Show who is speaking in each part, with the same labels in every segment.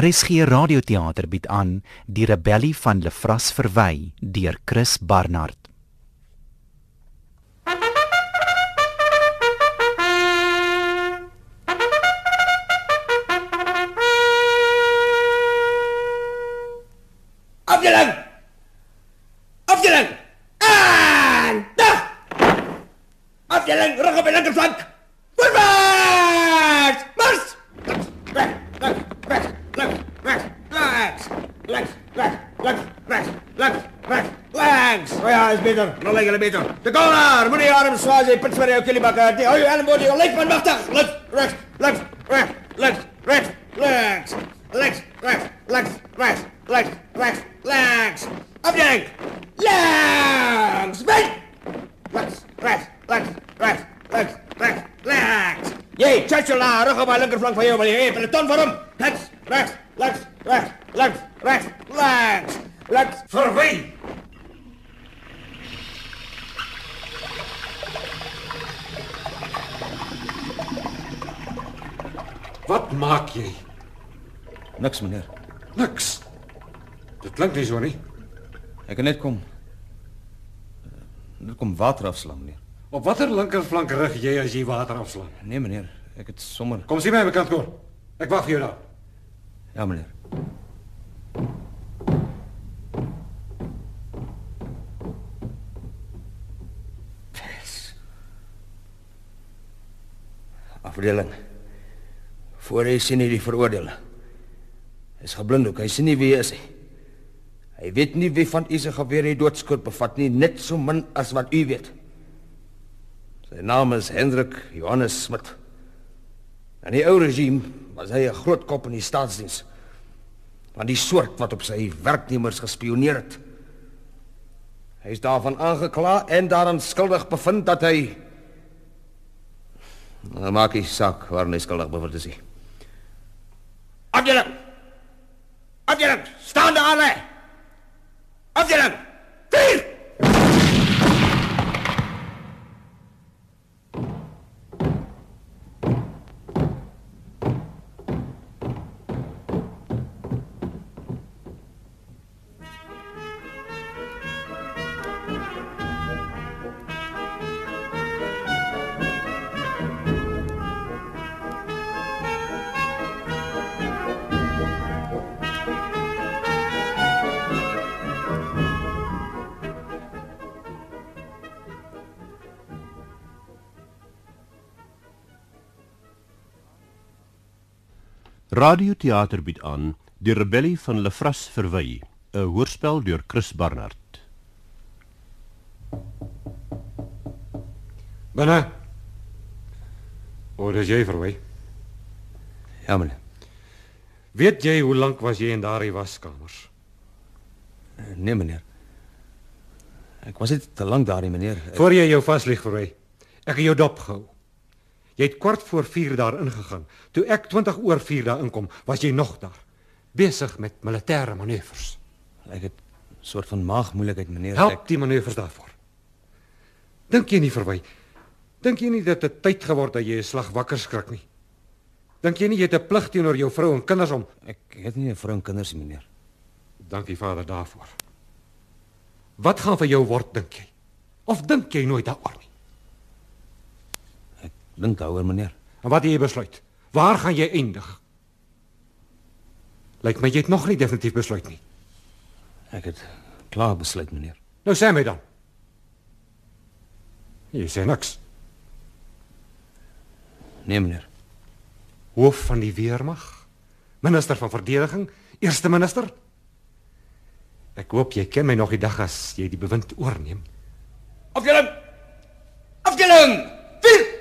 Speaker 1: RSG Radioteater bied aan Die Rebellie van Lefras verwy deur Chris Barnard.
Speaker 2: Afdeling! Afdeling! En dag! Afdeling, rug op die linkerflank! Voorwaarts! Mars! Rechts, rechts, rechts, links, rechts, links, links, rechts, links, rechts, links, rechts, links. O Oh ja, is beter. Nog lekker beter. De corner! Moet je arm zwaar zijn, pits voor jou, kiliebakker. Die- Hou je elleboog, die lijkt van machtig. Links, rechts, links, rechts, links, rechts, links, links, rechts, links, rechts, links, rechts, links. Afdeling! Links! Weg! Rechts, rechts, rechts, rechts, rechts, rechts, rechts. Jee, Churchill, rug op mijn linkerflank van jou, wil je heen? Peloton voor hem. Rechts, rechts, rechts, rechts, rechts, rechts, rechts, rechts. Voor wie?
Speaker 3: Wat maak jy?
Speaker 2: Niks, meneer.
Speaker 3: Niks. Dit klink nie so nie.
Speaker 2: Ik kan net kom. Er komt water afslaan, meneer.
Speaker 3: Op watter linkerflank rig jy as jy water afslaan?
Speaker 2: Nee, meneer. Ik het sommer.
Speaker 3: Kom sien my aan my kant kom. Ek wag vir jou daar.
Speaker 2: Ja, meneer. Pes. Afdeling. Voor hy sien hierdie veroordeel. Is geblind ook. Hy sien nie wie hy is nie. Hy weet nie wie van u se geweer hy doodskoot bevat nie, net so min as wat u weet. Sy naam is Hendrik Johannes Smit. In die ou regime was hy 'n groot kop in die staatsdiens. Van die soort wat op sy werknemers gespioneer het. Hy is daarvan aangekla en daaraan skuldig bevind dat hy Nou maak hy saak waarin hy skuldig bevind is. nie.
Speaker 4: Afdeling! Afdeling! Staande alle! Afdeling! Vier!
Speaker 5: Radioteater bied aan Die Rebellie van Lefras verwy, 'n hoorspel deur Chris Barnard.
Speaker 3: Binne. O, dis jy verwy.
Speaker 2: Ja, meneer.
Speaker 3: Weet jy hoe lank was jy in daardie waskamers?
Speaker 2: Nee, meneer. Ek was net te lank daar, nie, meneer. Ek,
Speaker 3: Voor jy jou vaslieg verwy. Ek het jou dop gehou. Jy het kwart voor 4 daar ingegaan. Toe ek 20 oor 4 daar inkom, was jy nog daar. Besig met militêre manoeuvres.
Speaker 2: ek het 'n soort van maagmoeilikheid, meneer.
Speaker 3: Help
Speaker 2: Ek,
Speaker 3: die manoeuvres daarvoor. Dink jy nie verby? Dink jy nie dat dit tyd geword dat jy 'n slag wakker skrik nie? Dink jy nie jy het 'n plig teenoor jou vrou en kinders om?
Speaker 2: ek het nie 'n vrou en kinders, nie, meneer.
Speaker 3: Dankie Vader daarvoor. Wat gaan van jou word dink jy? Of dink jy nooit daaroor nie?
Speaker 2: Dink daaroor, meneer.
Speaker 3: En wat het jy besluit? Waar gaan jy eindig? Lyk my jy het nog nie definitief besluit nie.
Speaker 2: Ek het klaar besluit, meneer.
Speaker 3: Nou sê my dan. Jy sê niks.
Speaker 2: Nee, meneer.
Speaker 3: hoof van die weermag, minister van verdediging, eerste minister. Ek hoop jy ken my nog die dag as jy die bewind oorneem.
Speaker 4: Afdeling! Afdeling! Vier!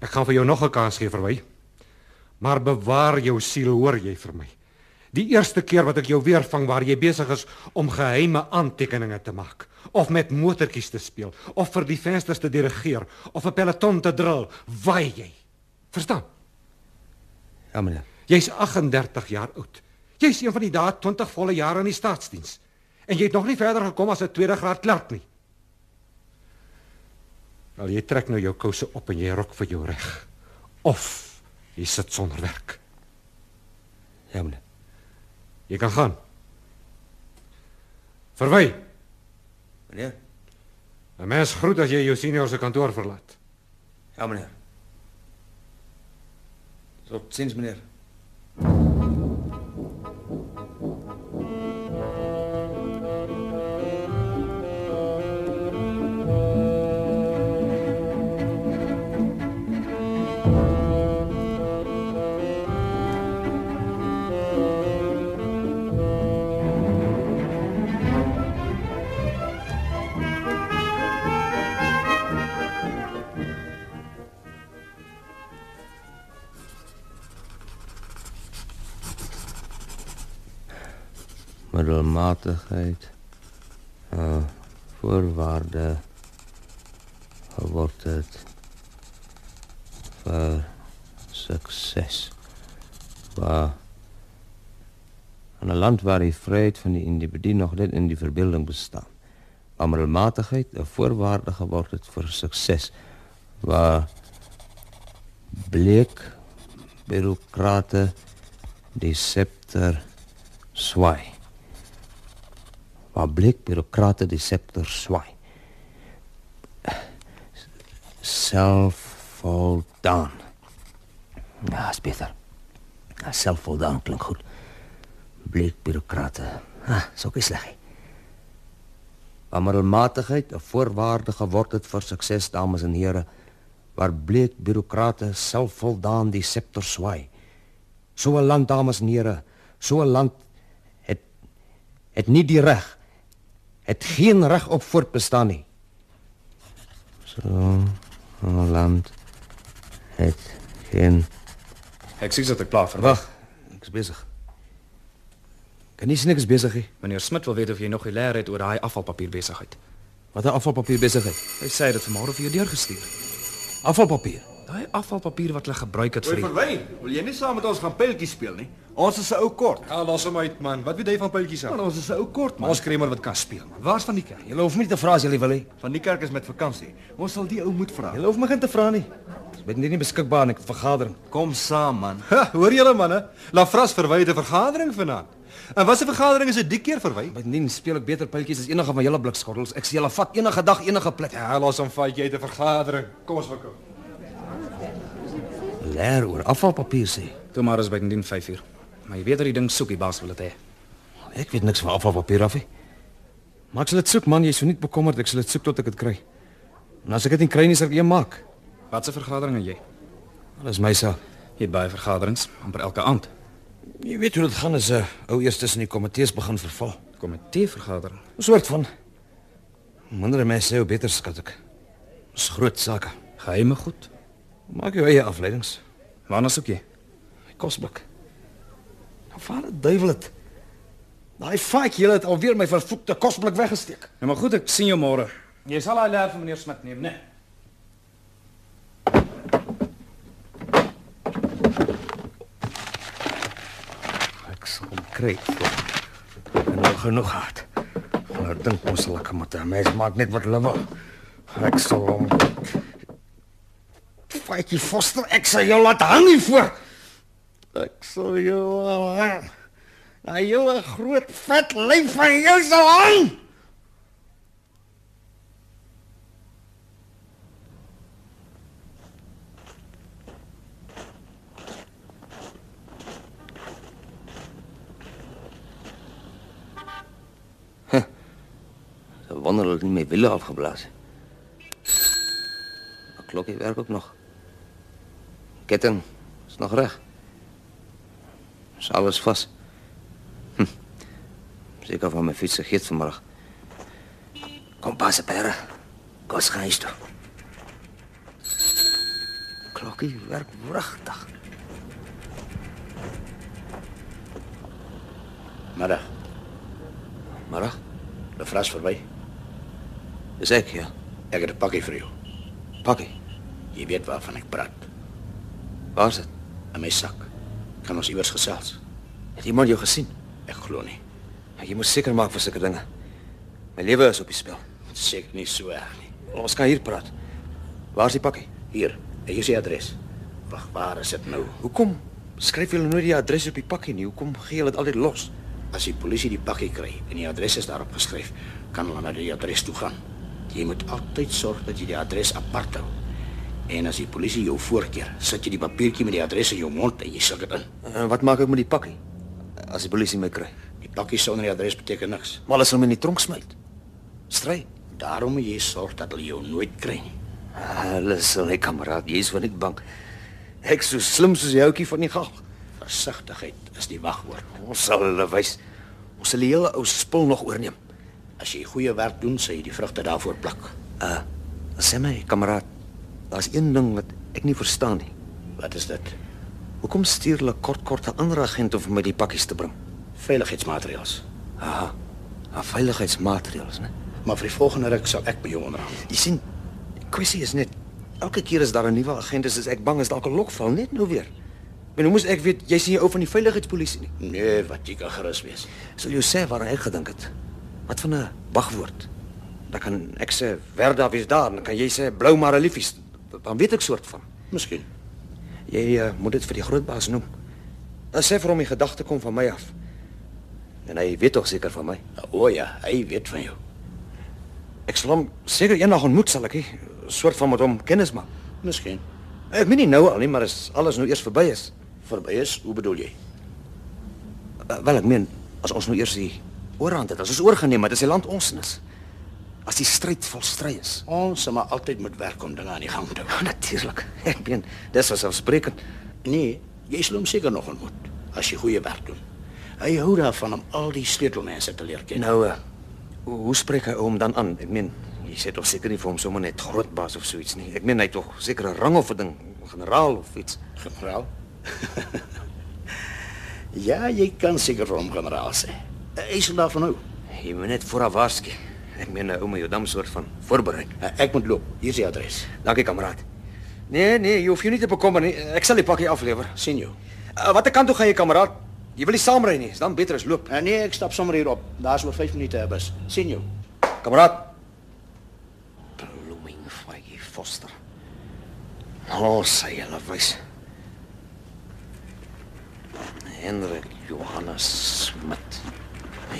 Speaker 3: Ek gaan vir jou nog 'n kans gee verwy. Maar bewaar jou siel, hoor jy vir my. Die eerste keer wat ek jou weer vang waar jy besig is om geheime aantekeninge te maak of met motortjies te speel of vir die vensters te dirigeer of 'n peloton te drill, waai jy. Verstaan?
Speaker 2: Ja, meneer.
Speaker 3: Jy's 38 jaar oud. Jy's een van die daad 20 volle jare in die staatsdiens. En jy het nog nie verder gekom as 'n tweede graad klerk nie. Wel, jy trek nou jou kouse op en jy rok vir jou reg. Of Jy sit sonder werk.
Speaker 4: Ja, meneer.
Speaker 3: Jy kan gaan. Verwy,
Speaker 4: Meneer?
Speaker 3: 'n mens groet as jy jou senior se kantoor verlaat.
Speaker 4: Ja, meneer. Tot ziens, meneer.
Speaker 6: middelmatigheid, eh, voorwaarde, wordt het voor succes. Waar in een land waar die vrijheid van de individu nog net in die verbeelding bestaat. Waar middelmatigheid een voorwaarde wordt het voor succes. Waar bleek bureaucraten die scepter zwaai. Waar bleek bureaucraten die scepter zwaai. Zelfvoldaan. Ja, is beter. Ja, zelfvoldaan klinkt goed. Bleek bureaucraten. Ah, is ook niet slecht. hè. Waar middelmatigheid een voorwaarde wordt het voor succes, dames en heren. Waar bleek bureaucraten zelfvoldaan die scepter zwaai. Zo'n land, dames en heren, zo'n land het, het niet die recht. Het geen recht op voortbestaan nie. Zo'n land het geen...
Speaker 7: Ek sê dat ek klaar verwag.
Speaker 6: Wacht, ik is bezig. Kan niet niks bezig, hè?
Speaker 7: Meneer Smit wil weet of jy nog geleer het oor daai afvalpapier besigheid.
Speaker 6: Wat een afvalpapier bezigheid.
Speaker 7: Hy sê hy het dit vanmôre vir jou deurgestuur.
Speaker 6: Afvalpapier.
Speaker 7: Daai afvalpapier wat hulle gebruik het vir die...
Speaker 2: verwy, wil jy nie saam met ons gaan peltjies speel nie? Ons is 'n ou kort.
Speaker 7: Ja, los hom uit man. Wat weet jy van pyltjies
Speaker 2: Man, ons is 'n ou kort man.
Speaker 7: Ons kry maar wat kan speel man. Waar's van die kerk?
Speaker 6: Jullie hoeft niet te vragen, jullie wil, hè?
Speaker 2: Van die kerk is met vakansie. Ons sal die ou moet vra.
Speaker 6: Jullie hoeft me geen te vragen, hè? Ik ben hier niet beschikbaar, en ik vergadering.
Speaker 2: Kom saam man.
Speaker 3: Ha, hoor julle manne, Lafras verwy het 'n vergadering vanaand. En wat 'n vergadering is dit die keer verwy?
Speaker 6: Bovendien speel ek beter piltjies as enige van julle blikskottelers. Ek sê julle vat enige dag enige plek.
Speaker 3: Ja, los hom vat jy het 'n vergadering. Kom ons verkom.
Speaker 6: Leer oor afvalpapier sê.
Speaker 7: Toe maar is bydien 5uur. Maar jy weet dat die ding soekie baas wil dit hê.
Speaker 6: Ek weet niks van afvalpapier af nie. Maar ek sal dit soek man, jy's so nie bekommerd, ek sal dit soek tot ek dit kry. En as ek dit nie kry nie, sal ek een maak.
Speaker 7: Wat 'n vergadering en jy?
Speaker 6: Alles my saak.
Speaker 7: Jy het baie vergaderings amper elke aand.
Speaker 6: Jy weet hoe dit gaan as 'n uh, ou eers tussen die komitees begin verval.
Speaker 7: Komitee vergadering.
Speaker 6: 'n Soort van Hoe minder mense sê hoe beter skat ek. Dis groot sake.
Speaker 7: Geheime goed.
Speaker 6: Maak jou eie afleidings.
Speaker 7: Waarna soek jy?
Speaker 6: Kosblik. Nou vaar die duiwel dit. Daai faik jy het alweer my vervloekte kosblik weggesteek.
Speaker 7: Nou maar goed, ek sien jou môre. Jy sal daai leer van meneer Smit neem, né? Nee.
Speaker 6: Ek sal hom kry. En nog genoeg hard. Nou dink ons lekker met hom. Mens maak net wat hulle wil. Ek sal hom Faitjie Foster, ek sal jou laat hang hier voor. Ek sal jou laat hang. Na jou groot vet lyf van jou sal hang. Ze wonder dat ik niet meer willen afgeblazen. Dat klokje werkt ook nog. Ketting is nog recht. Is alles vast. Hm. Zeker van mijn fiets gegeet vanmorgen. Kom, passen, peren. Kos gaan eens toe. Klokje werkt prachtig.
Speaker 4: Middag.
Speaker 6: Morgen?
Speaker 4: De fras verby.
Speaker 6: Is ik, ja.
Speaker 4: Ek het 'n pakkie vir jou.
Speaker 6: Pakkie.
Speaker 4: Jy weet waarvan ek praat.
Speaker 6: Waar is het?
Speaker 4: In my sak. Kan ons iewers gesels?
Speaker 6: Heeft iemand jou gezien?
Speaker 4: Ek glo nie.
Speaker 6: Je moet zeker maken voor zulke dingen. Mijn leven is op je spel.
Speaker 4: Dit is Seker nie so erg nie.
Speaker 6: Ons kan hier praat. Waar is die pakkie?
Speaker 4: Hier, hier is die adres. Wag, waar is dit nou?
Speaker 6: Hoekom skryf julle nooit die adres op die pakkie nie? Hoekom gee julle dit altyd los?
Speaker 4: As die polisie die pakkie kry en die adres is daarop geskryf, kan hulle na die adres toe gaan. Jy moet altyd sorg dat jy die adres apart hou. En as die polisie jou voorkeer, sit jy die papiertjie met die adres in jou mond en jy suk dit in.
Speaker 6: En wat maak ek met die pakkie? As die polisie my kry.
Speaker 4: Die pakkie sonder die adres beteken niks.
Speaker 6: Maar as hulle my in die tronk smyt. Stry.
Speaker 4: Daarom moet jy sorg dat hulle jou nooit kry nie.
Speaker 6: Hulle sal nie kameraad, jy's van net bang. Ek so slim soos die houtjie van die galg.
Speaker 4: Versigtigheid is die wagwoord.
Speaker 6: Ons sal hulle wys. Ons sal die hele ou spul nog oorneem.
Speaker 4: As jy goeie werk doen, sal jy die vrugte daarvoor pluk.
Speaker 6: Uh, sê my kameraad, daar's een ding wat ek nie verstaan nie.
Speaker 4: Wat is dit?
Speaker 6: Hoekom stuur hulle kort kort 'n ander agent om vir my die pakkies te bring?
Speaker 4: Veiligheidsmaatreëls.
Speaker 6: Ah, ah veiligheidsmaatreëls, né?
Speaker 4: Maar vir die volgende ruk sal ek met jou onderhandel.
Speaker 6: Jy sien, die kwessie is net elke keer as daar 'n nuwe agent is, is ek bang as dalk 'n lokval net nou weer. Maar hoe moes ek weet jy's nie ou van die veiligheidspolisie nie?
Speaker 4: Nee, wat jy kan gerus wees.
Speaker 6: Sal jou sê waaraan ek gedink het. Wat van 'n wagwoord? Dan kan ek sê Werda wie's daar, dan kan jy sê Blou Maraliefies. Dan weet ek soort van.
Speaker 4: Miskien.
Speaker 6: Jy uh, moet dit vir die grootbaas noem. Dan sê vir hom die gedagte kom van my af. En hy weet tog seker van my.
Speaker 4: O ja, hy weet van jou.
Speaker 6: Ek sal hom seker eendag ontmoet sal ek, hè, soort van met hom kennis maak.
Speaker 4: Miskien.
Speaker 6: Ek meen nie nou al nie, maar as alles nou eers verby is.
Speaker 4: Verby is, hoe bedoel jy?
Speaker 6: Uh, wel ek meen, as ons nou eers die oorhand het, as ons oorgeneem het, as die land ons is. As die stryd vol stry is.
Speaker 4: Ons sal maar altyd moet werk om dinge aan die gang te
Speaker 6: Ja,
Speaker 4: hou.
Speaker 6: natuurlik. Ek meen, dis was afspreekend.
Speaker 4: Nee, jy sal hom seker nog ontmoet as jy goeie werk doen. Hy hou daarvan om al die sleutelmense te leer ken.
Speaker 6: Nou, uh, hoe, hoe spreek hy hom dan aan? Ek meen, jy sê tog seker nie vir hom sommer net grootbaas of so iets nie. Ek meen hy het tog seker 'n rang of 'n ding, generaal of iets.
Speaker 4: generaal. ja, jy kan seker vir hom generaal sê. Hy sal daarvan hou.
Speaker 6: Jy moet net vooraf waarsku. Ek meen, ou moet jou dan soort van voorberei.
Speaker 4: Ja, Ek moet loop. Hier is die adres.
Speaker 6: Dankie, kameraad. Nee, nee, jy hoef jou nie te bekommer nie. Ek sal die pakkie aflewer.
Speaker 4: sien jou.
Speaker 6: Uh, watter kant toe gaan jy, kameraad? Jy wil nie saamry nie, is dan beter as loop.
Speaker 4: Uh, nee, ek stap sommer hier op. Daar's oor 5 minute 'n bus. Sien jou.
Speaker 6: Kameraad. Blooming Faggy Foster. Nou sê jy hulle wys. Hendrik Johannes Smit.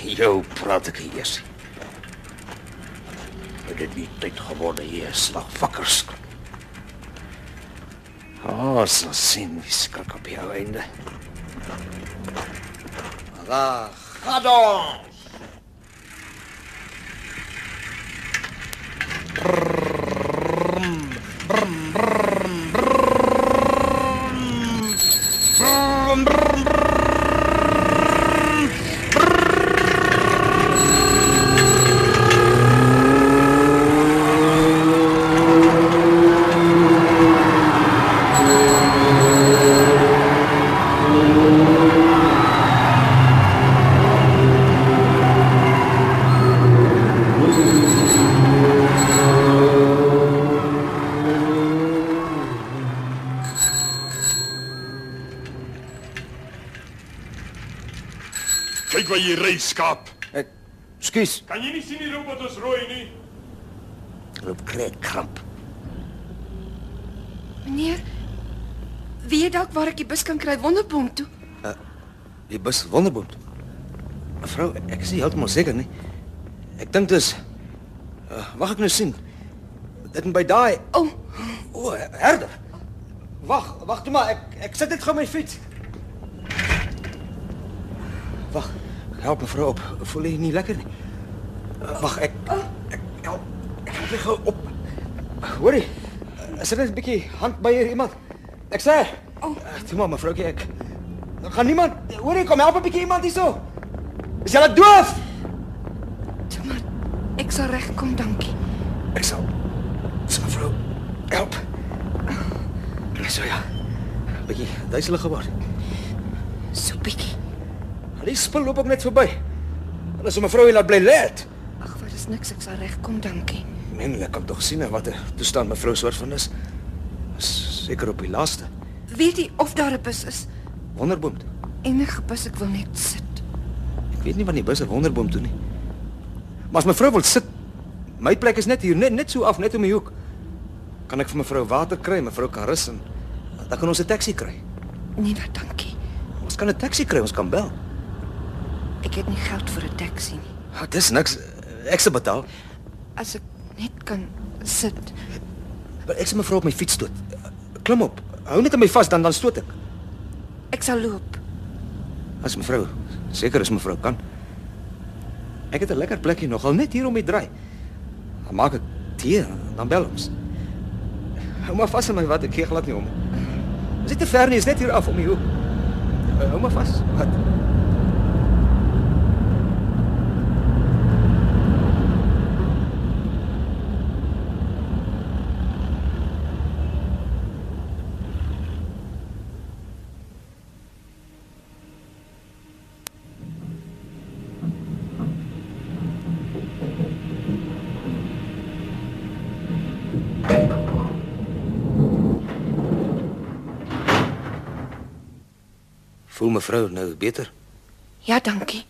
Speaker 6: Jou praat ek eers. Het dit nie tyd geword dat jy 'n slag wakker skrik? Oh, so sien wie skrik op jou einde. Daar, gaan ons!
Speaker 8: Kyk waar jy ry, skaap.
Speaker 6: Ek skuis.
Speaker 8: Kan jy nie sien die robot is rooi nie?
Speaker 6: Loop kry kramp.
Speaker 9: Meneer, weet dalk waar ek die bus kan kry wonderboom toe?
Speaker 6: Die bus Wonderboom. toe. Mevrou, ek is nie heeltemal seker nie. Ek dink dis uh, Wag ek nou sien. Dit moet by daai
Speaker 9: O,
Speaker 6: o, Oh, herder. Wag, wag toe maar. Ek ek sit net gou my fiets. Wag. Help mevrou op. Voel jy nie lekker nie? Uh, Wag, ek ek help. Ek help jy gou op. Hoorie. Eh, Is dit net 'n bietjie hand by hier iemand? Ek sê. Oh. Toe maar mevroukie, ek Daar gaan niemand. Hoorie, kom help 'n bietjie iemand hierso. Is jy doof?
Speaker 9: toe maar. Ek sal regkom, dankie.
Speaker 6: Ek sal. Sal mevrou help. So ja. Bietjie duiselig geword.
Speaker 9: So bietjie.
Speaker 6: Die spul loop ook net verby. Hulle sou mevrou hier laat bly lê. het.
Speaker 9: Ag, wat is niks, ek sal regkom, dankie.
Speaker 6: Menlik kan tog sien wat 'n toestand mevrou soort van is. Is Seker op die laaste.
Speaker 9: Weet jy of daar 'n bus is?
Speaker 6: Wonderboom. toe.
Speaker 9: Enige bus, ek wil net sit.
Speaker 6: Ek weet nie van die bus op Wonderboom toe nie. Maar as mevrou wil sit, my plek is net hier, net net so af, net om die hoek. Kan ek vir mevrou water kry? Mevrou kan rus en Dan kan ons 'n taxi kry.
Speaker 9: Nee, maar dankie.
Speaker 6: Ons kan 'n taxi kry, ons kan bel.
Speaker 9: Ek het nie geld vir 'n taxi nie.
Speaker 6: Ah, dis niks. Ek se betaal.
Speaker 9: As ek net kan sit.
Speaker 6: Maar ek se mevrou op my fiets stoot. Klim op. Hou net aan my vas dan dan stoot ek.
Speaker 9: Ek sal loop.
Speaker 6: As mevrou, seker as mevrou kan. Ek het 'n lekker plekkie nogal net hier om die draai. Dan maak ek tee, dan bel ons. Hou maar vas aan my wat ek gee glad nie om. Ons is te ver nie, is net hier af om die hoek. Eh, Hou maar vas. Wat? Voel mevrou nou beter?
Speaker 9: Ja, dankie.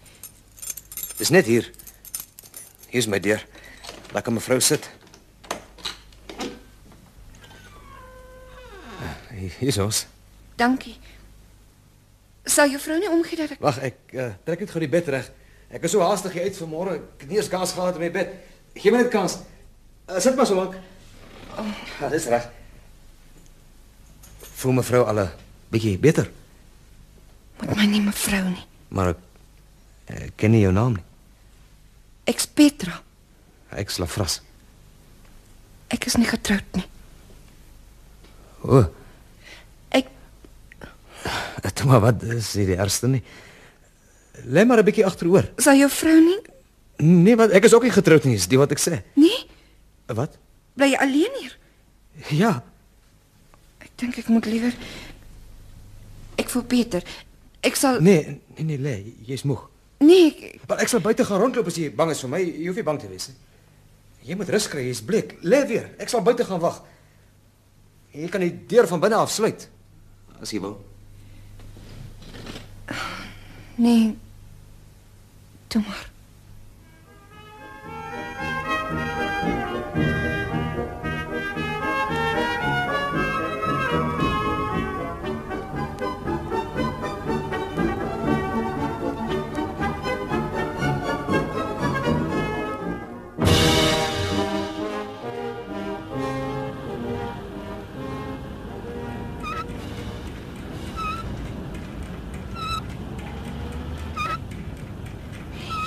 Speaker 6: Dis net hier. Hier is my deur. Laat kan mevrou sit. Ah, Hier is ons.
Speaker 9: Dankie. Sal juffrou nie omgee dat ek
Speaker 6: Wag, ek uh, trek net gou die bed reg. Ek is so haastig uit vanmôre. Ek het nie eens kans gehad om my bed. Gee my net kans. Uh, sit maar so lank.
Speaker 9: Oh.
Speaker 6: Ja, dis reg. Voel mevrou al 'n bietjie beter,
Speaker 9: moet my nie mevrou nie.
Speaker 6: maar ek, ek ken nie jou naam nie.
Speaker 9: Ek's Petra.
Speaker 6: Ek sla fras.
Speaker 9: Ek is nie getroud nie.
Speaker 6: O. Oh.
Speaker 9: Ek
Speaker 6: Dit maar wat is nie die ergste nie. Lê maar 'n bietjie agteroor.
Speaker 9: sal juffrou nie
Speaker 6: Nee, want ek is ook nie getroud nie, is dit wat ek sê.
Speaker 9: nee,
Speaker 6: Wat?
Speaker 9: bly jy alleen hier.
Speaker 6: Ja,
Speaker 9: Ek dink ek moet liewer Ek voel beter. Ek sal
Speaker 6: nee, nee nee, lê, jy's moeg.
Speaker 9: nee ek,
Speaker 6: Maar ek sal buite gaan rondloop as jy bang is vir my. Jy hoef nie bang te wees nie. Jy moet rus kry, jy's bleek. Lê weer. Ek sal buite gaan wag. Jy kan die deur van binne af sluit as jy wil.
Speaker 9: nee. Toe maar.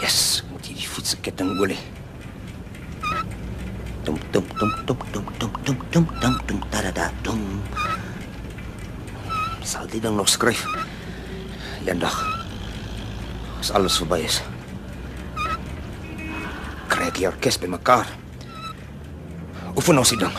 Speaker 4: Yes, ek moet hierdie fiets se ketting olie. Dum dum dum dum dum dum dum dum dum dum da da dum. Sal dit dan nog skryf? Eendag. As alles verby is. Kry ek die orkes bymekaar. Oefen ons die ding.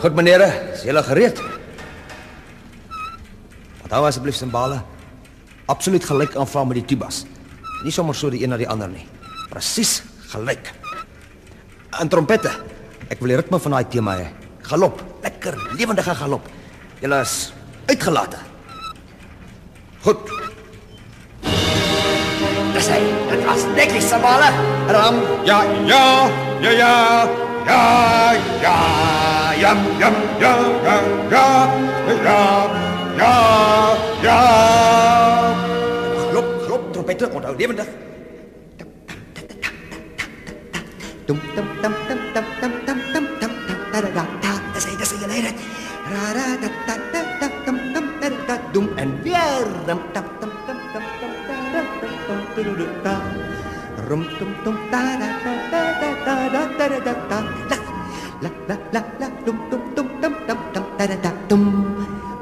Speaker 6: Goed meneere, is julle gereed? Onthou asseblief simbale. Absoluut gelyk aanvang met die tubas. Nie sommer so die een na die ander nie. Presies gelyk. En trompette. Ek wil die ritme van daai tema hê. Galop, lekker lewendige galop. Julle is uitgelate. Goed. Dis hy. Dit was net die simbale. Ram.
Speaker 8: Ja, ja, ja, ja, ja, ja, ja, ja, ja, ja, ja, ja, ja, ja.
Speaker 6: Galop, galop, trompette, onthou lewendig. Dum dum dum dum dum dum dum dum dum da da da da. Dis hy, dis hy, jy het. Ra ra da da da da dum dum da da da dum en weer dum dum dum dum dum dum da da dum dum dum dum da. Rum dum dum da da da da da da da da da da da. La la la la dum dum dum dum dum dum da da da dum.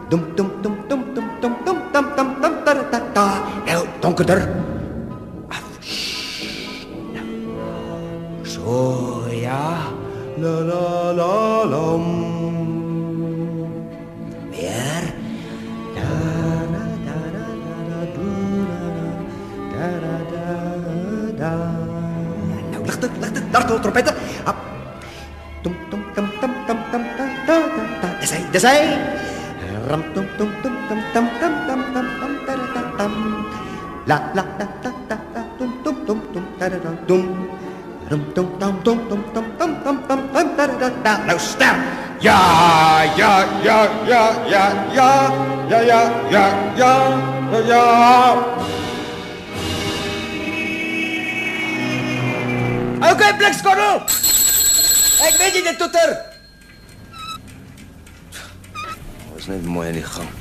Speaker 6: Dum dum dum dum dum dum dum dum dum dum da da da da. Nou donkerder. So ja. La la la lom. Weer. Da da da da da da do, da da da da da. Nou lig dit, lig dit, daar toe trompette. Hap. Tum tum tum tum tum tum da da da. Dis hy, dis
Speaker 10: Dis hy. Ram tum tum tum tum tum tum tum tum tum tum tum tum. La la la la la la tum tum tum tum tum tum. Rum tum tum tum tum tum tum tum tum tum tum tum. Nou stem.
Speaker 8: Ja, ja, ja, ja, ja, ja, ja, ja, ja, ja, ja, ja.
Speaker 10: OK, blikskottel. Ek weet jy dit toeter.
Speaker 11: Ons net mooi in die gang.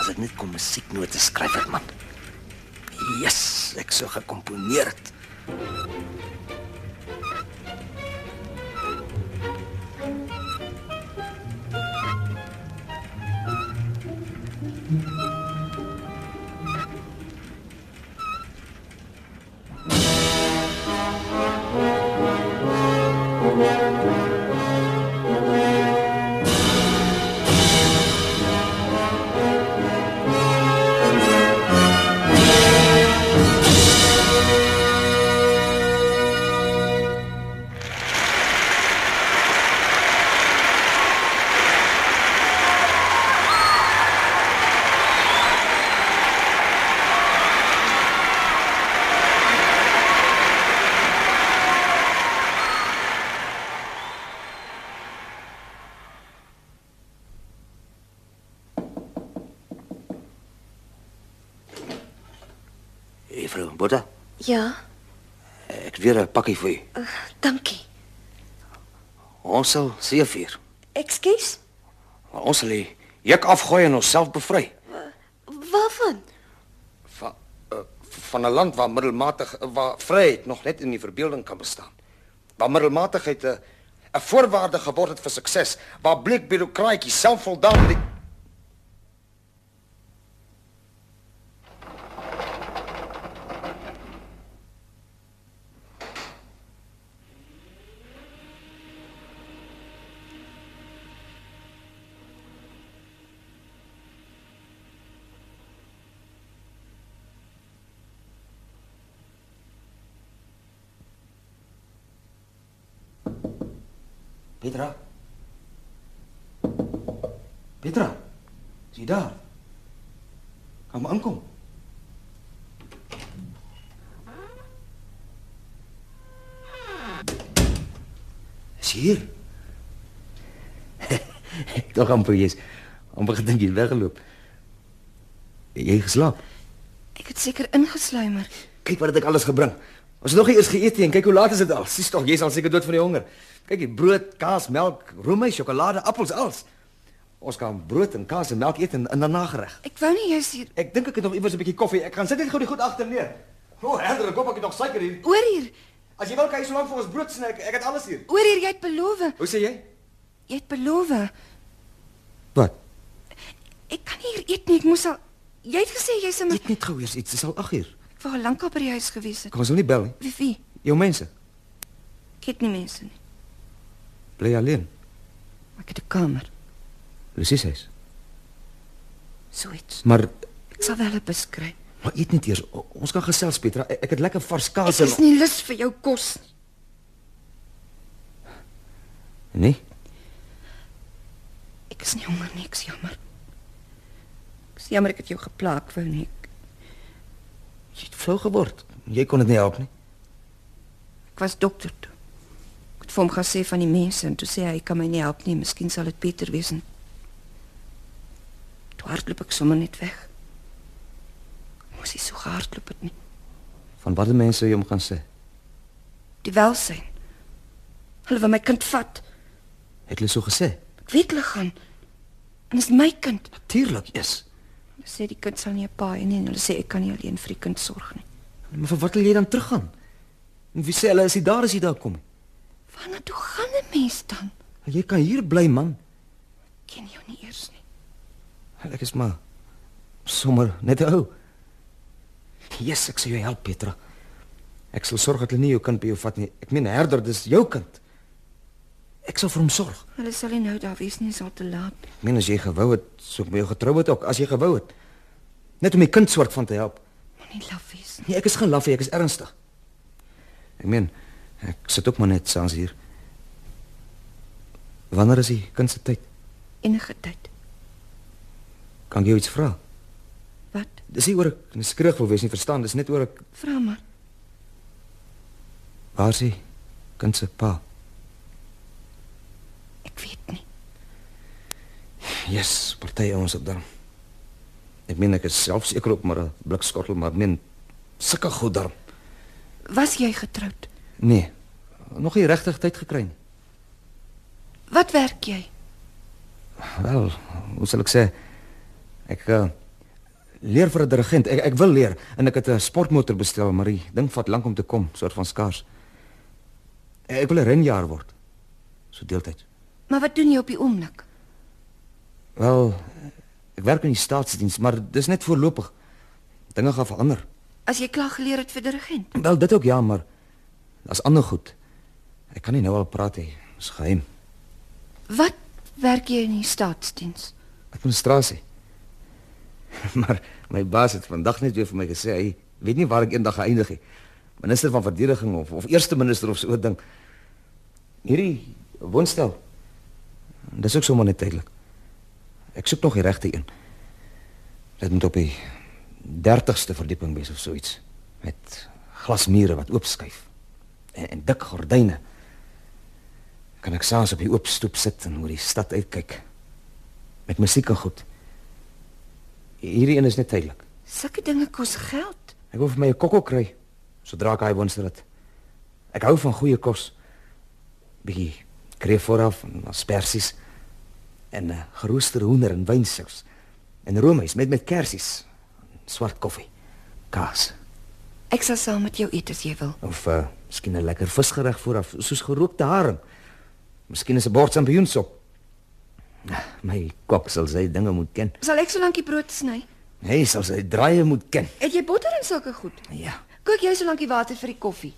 Speaker 11: As ek net kon musieknote skryf het man. Jesus, ek sou gekomponeer het. Juffrou Botta,
Speaker 9: Ja, eh,
Speaker 11: ek het weer 'n pakkie vir u.
Speaker 9: dankie.
Speaker 11: Ons sal seëvier.
Speaker 9: Ekskuus.
Speaker 11: Ons sal die juk afgooi en onsself bevry
Speaker 9: Waarvan?
Speaker 11: van
Speaker 6: eh, van 'n land waar middelmatig eh, waar vryheid nog net in die verbeelding kan bestaan. Waar middelmatigheid 'n 'n voorwaarde geword het vir sukses, waar bleek bureaukraatjies selfvoldaan die
Speaker 11: Petra. Petra. Is jy daar? Kom maar aankom.
Speaker 10: Is hier.
Speaker 11: Tog amper jy's amper gedink jy het weggeloop. Jy het geslaap.
Speaker 9: Ek het seker ingesluimer.
Speaker 6: Kyk wat het ek alles gebring. Ons het nog nie eers geëet nie en kyk hoe laat is dit al. Sis tog, jy's al seker dood van die honger. Kyk, die brood, kaas, melk, roomys, sjokolade, appels, alles. Ons kan brood en kaas en melk eet en, en daarna gereg.
Speaker 9: Ek wou nie jy's hier
Speaker 6: Ek dink ek het nog iewers 'n bietjie koffie. Ek gaan sit net gou die goed agter neer. O, oh, herder, ek hoop ek het nog suiker hier.
Speaker 9: Oor hier.
Speaker 6: As jy wil kan jy so lank vir ons brood snack. Ek het alles hier.
Speaker 9: Oor hier jy het beloof.
Speaker 6: Hoe sê jy?
Speaker 9: Jy het beloof.
Speaker 6: Wat?
Speaker 9: Ek kan nie hier eet nie. Ek moes al Jy het gesê jy's in my
Speaker 6: Net gou eers iets. Dis al 8 uur.
Speaker 9: Ek wou al lank al by die huis gewees het.
Speaker 6: Kom ons wil nie bel nie.
Speaker 9: Wie wie?
Speaker 6: Jou mense
Speaker 9: Ek het nie mense nie.
Speaker 6: bly alleen.
Speaker 9: Ek het 'n kamer.
Speaker 6: Presies hy's.
Speaker 9: So iets.
Speaker 6: Maar
Speaker 9: Ek sal wel 'n beskryf.
Speaker 6: maar eet net eers. O- Ons kan gesels, Petra. E, Ek ek het lekker vars kaas
Speaker 9: Ek is nie lus vir jou kos nie.
Speaker 6: Nee.
Speaker 9: Ek is nie honger nie, ek is jammer. Ek is jammer ek het jou geplaag wou nie.
Speaker 6: Jy het flou geword. Jy kon dit nie help nie.
Speaker 9: Ek was dokter toe. Ek het vir hom gesê van die mense en toe sê hy "Ek kan my nie help nie, miskien sal dit beter wees. en- Toe hardloop ek sommer net weg. Moes hy so hardloop het nie.
Speaker 6: Van watter mense jy hom gaan sê?
Speaker 9: Die welsyn. Hulle wil my kind vat.
Speaker 6: Het hulle so gesê?
Speaker 9: Ek weet hulle gaan. En dis my kind.
Speaker 6: Natuurlik is.
Speaker 9: Hulle sê die kind sal nie 'n pa hê nie en hulle sê ek kan nie alleen vir die kind sorg nie.
Speaker 6: Maar vir wat wil jy dan teruggaan? En wie sê hulle as jy daar is jy daar kom?
Speaker 9: Waarna toe gaan 'n mens dan?
Speaker 6: Jy kan hier bly man.
Speaker 9: Ken jou nie eers nie.
Speaker 6: Ek is maar sommer net 'n ou. Jesus, ek sal jou help Petra. Ek sal sorg dat hulle nie jou kind by jou vat nie. Ek meen herder, dis jou kind. Ek sal vir hom sorg.
Speaker 9: Hulle sal nie nou daar wees nie, is al te laat.
Speaker 6: Ek meen as jy gewou het, sou ek by jou getrou het ook, as jy gewou het. Net om die kind soort van te help.
Speaker 9: Moenie laf wees nie.
Speaker 6: Nee, ek is geen laf nie, ek is ernstig. Ek meen, ek sit ook maar net saans hier. Wanneer is die kind se tyd?
Speaker 9: Enige tyd.
Speaker 6: Kan ek jou iets vra?
Speaker 9: Wat?
Speaker 6: Dis nie oor ek skreeg wil wees nie, verstaan, dis net oor ek
Speaker 9: Vra maar.
Speaker 6: waar sy kind se pa.
Speaker 9: Ek weet nie.
Speaker 6: Jesus, party ouens op dan. Ek meen ek is self seker op maar 'n blik skottel, maar ek meen sulke goed daar.
Speaker 9: Was jy getroud?
Speaker 6: Nee. Nog nie regtig tyd gekry nie.
Speaker 9: Wat werk jy?
Speaker 6: Wel, hoe sal ek sê? Ek uh, leer vir 'n dirigent. Ek ek wil leer en ek het 'n sportmotor bestel, maar die ding vat lank om te kom, soort van skaars. Eh, Ek wil 'n renjaer word. So deeltyd.
Speaker 9: Maar wat doen jy op die oomblik?
Speaker 6: Wel, ek werk in die staatsdiens, maar dis net voorlopig. Dinge gaan verander.
Speaker 9: As jy klaar geleer het vir dirigent,
Speaker 6: Wel, dit ook ja, maar daar's ander goed. Ek kan nie nou al praat hê. Dis geheim.
Speaker 9: wat werk jy in die staatsdiens?
Speaker 6: administrasie. Maar my baas het vandag net weer vir my gesê hy weet nie waar ek eendag gaan eindig nie. Minister van verdediging of of eerste minister of so 'n ding. Hierdie woonstel. Dis ook sommer net tydelik. Ek soek nog die regte een. Dit moet op die 30ste verdieping wees of so iets met glasmure wat oopskuif en, en dik gordyne. Kan ek saans op die oop stoep sit en oor die stad uitkyk met musiek en goed. Hierdie een is net tydelik.
Speaker 9: Sulke dinge kos geld.
Speaker 6: Ek wil vir my 'n kokkel kry sodra ek hy woonstel het. Ek hou van goeie kos. Bietjie kreef vooraf en asperges en uh, gerooster hoender en wynsous en roomys met met kersies, en swart koffie, kaas
Speaker 9: Ek sal saam met jou eet as jy wil.
Speaker 6: of uh, miskien 'n lekker visgereg vooraf, soos gerookte haring. Miskien is 'n bord champignonsop. My kok sal sy dinge moet ken.
Speaker 9: Sal ek so lank die brood sny?
Speaker 6: Hy sal sy draaie moet ken.
Speaker 9: Het jy botter en sulke goed?
Speaker 6: Ja.
Speaker 9: Kook jy so lank die water vir die koffie?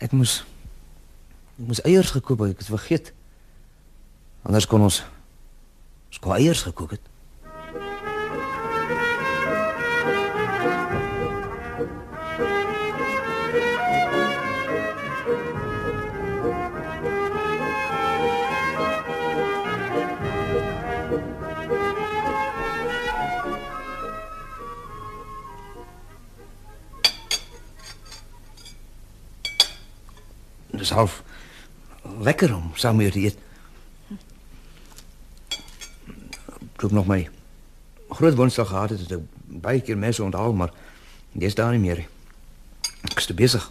Speaker 6: Ek moes ek moes eiers gekoop, het, ek het vergeet. Anders kon ons ons kon eiers gekook het. Dis half lekker om saam met jou te eet. Ek het nog my groot woensdag gehad het, het ek baie keer mense onthaal, maar dis daar nie meer. nie. Ek is te besig.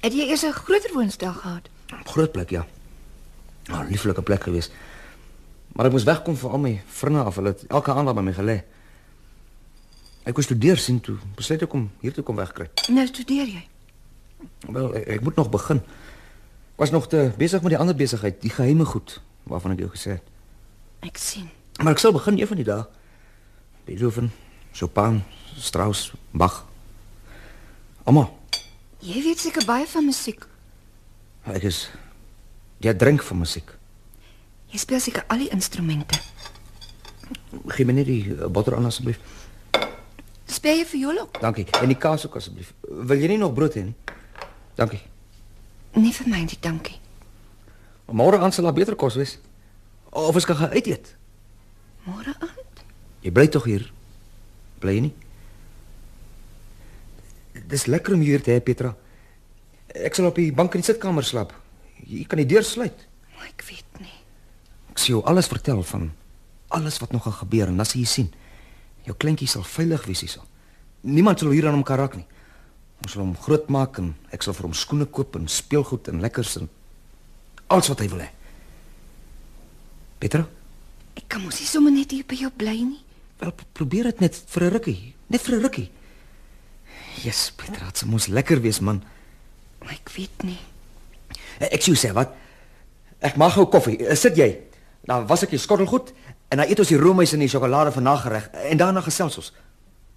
Speaker 9: Het jy eers 'n groter woensdag gehad?
Speaker 6: Groot plek, ja. 'n Lieflike plek geweest. Maar ek moes wegkom vir al my vriende af. Hulle het elke aand daar by my gelê. Ek wou studeer sien toe besluit ek om hier toe kom wegkry.
Speaker 9: Nou studeer jy.
Speaker 6: Wel, ek, ek moet nog begin. Ek was nog te besig met die ander besigheid, die geheime goed waarvan ek jou gesê het.
Speaker 9: Ek sien.
Speaker 6: Maar ek sal begin een van die dae. Beethoven, Chopin, Strauss, Bach. Almal.
Speaker 9: Jy weet seker baie van musiek.
Speaker 6: Ek is jy drink van musiek.
Speaker 9: Jy speel seker al die instrumente.
Speaker 6: Gee my net die eh, botter aan asseblief.
Speaker 9: Speel jy viool ook?
Speaker 6: Dankie. En die kaas ook asseblief. Wil jy nie nog brood hê nie? Dankie.
Speaker 9: Nee vir my, nie, dankie.
Speaker 6: Môre aan sal daar beter kos wees. Of ons kan gaan uit eet.
Speaker 9: Môre aan?
Speaker 6: Jy bly tog hier. Bly jy nie? Dis lekker om jou hier te hê, Petra. Ek sal op die bank in die sitkamer slaap. Jy kan die deur sluit.
Speaker 9: Maar ek weet nie.
Speaker 6: Ek sê jou alles vertel van alles wat nog gaan gebeur en as jy sien, jou kleintjie sal veilig wees hierso. Niemand sal hier aan hom kan raak nie. Ons sal hom grootmaak en ek sal vir hom skoene koop en speelgoed en lekkers en alles wat hy wil hê. Petra,
Speaker 9: Ek kan mos nie sommer net hier by jou bly nie.
Speaker 11: Wel, p- probeer dit net vir 'n rukkie, net vir 'n rukkie.
Speaker 6: Jesus, Pieter, dit sou mos lekker wees, man.
Speaker 9: Ek weet nie.
Speaker 6: Eh, Ek sê sê wat? Ek maak gou koffie. Eh, Sit jy. Dan was ek die skottel goed en dan eet ons die roomys en die sjokolade van nagereg en daarna gesels ons.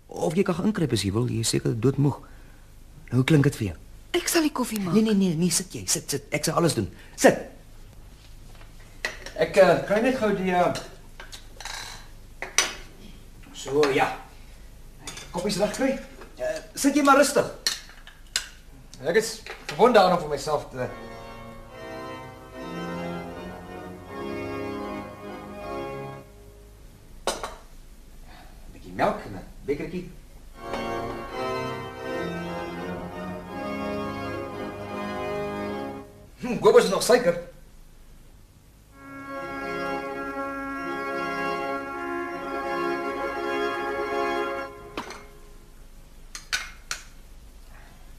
Speaker 6: Of jy kan gaan inkruip as jy wil, jy is seker doodmoeg. Nou hoe klink dit vir jou?
Speaker 9: Ek sal die koffie maak.
Speaker 6: Nee nee nee, nee, sit jy, sit sit. Ek sal alles doen. Sit. Ek uh, kry net gou die uh... So ja. Koppies reg kry. Uh, sit jy maar rustig. Ek is gewoond daaraan om vir myself te bietjie melk en 'n bekertjie. Hm, Gobus is nog suiker.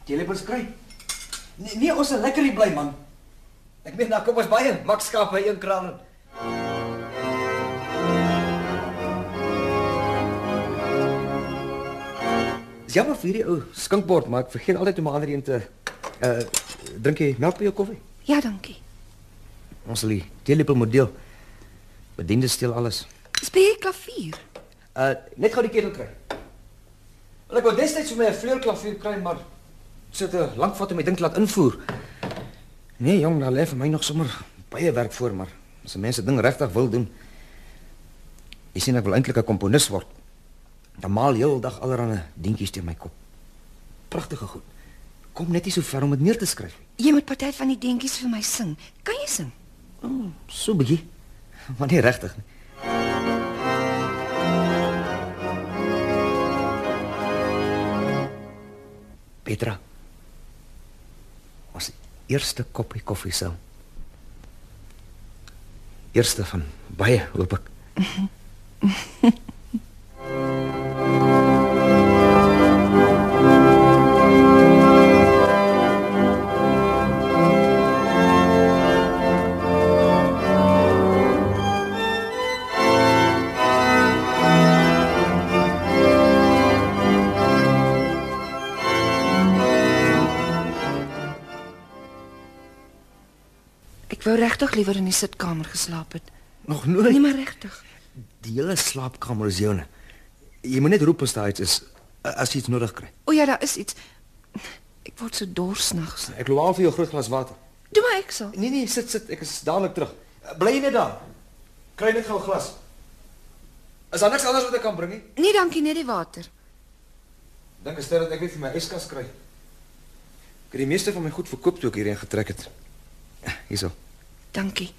Speaker 6: Die lepels kry. Nee, nee, ons is lekker hier bly man. Ek meen daar kom ons baie makskaap by een kraan. Dis jammer vir hierdie ou skinkbord, maar ek vergeet altyd om 'n ander een te uh drink jy melk by jou koffie?
Speaker 9: Ja, dankie.
Speaker 6: Ons sal die teelepel moet deel. Bediende steel alles.
Speaker 9: Speel klavier.
Speaker 6: Uh net gou die ketel kry. Wel, Ek wou destyds vir my 'n vleuelklavier kry, maar sit 'n lank vat om my ding te laat invoer. Nee, jong, daar lê vir my nog sommer baie werk voor, maar as 'n mens 'n ding regtig wil doen, jy sien ek wil eintlik 'n komponis word. Dan maal heeldag allerlei dingetjies teen my kop. Pragtige goed. Kom net nie so ver om dit neer te skryf nie.
Speaker 9: Jy moet party van die deentjies vir my sing. Kan jy sing?
Speaker 6: So bietjie. Maar nie regtig nie. Petra. Ons eerste koppie koffie saam. Eerste van baie, hoop ek.
Speaker 9: Ek wou regtig liewer in die sitkamer geslaap het.
Speaker 6: Nog nooit.
Speaker 9: Nee, maar regtig.
Speaker 6: Die hele slaapkamer is joune. Jy moet net roep as daar iets is, as jy iets nodig kry.
Speaker 9: O ja, daar is iets. Ek word so dors nags.
Speaker 6: Ek laal vir jou 'n groot glas water.
Speaker 9: Doen maar ek sal.
Speaker 6: Nee nee, sit sit, ek is dadelik terug. Bly net daar. Kry net gou 'n glas. Is daar niks anders wat ek kan bring nie?
Speaker 9: Nee, dankie, net die water.
Speaker 6: Dink is dit dat ek weer vir my yskas kry. Ek het die meeste van my goed verkoop toe ek hierheen getrek het. Hierso.
Speaker 9: Dankie.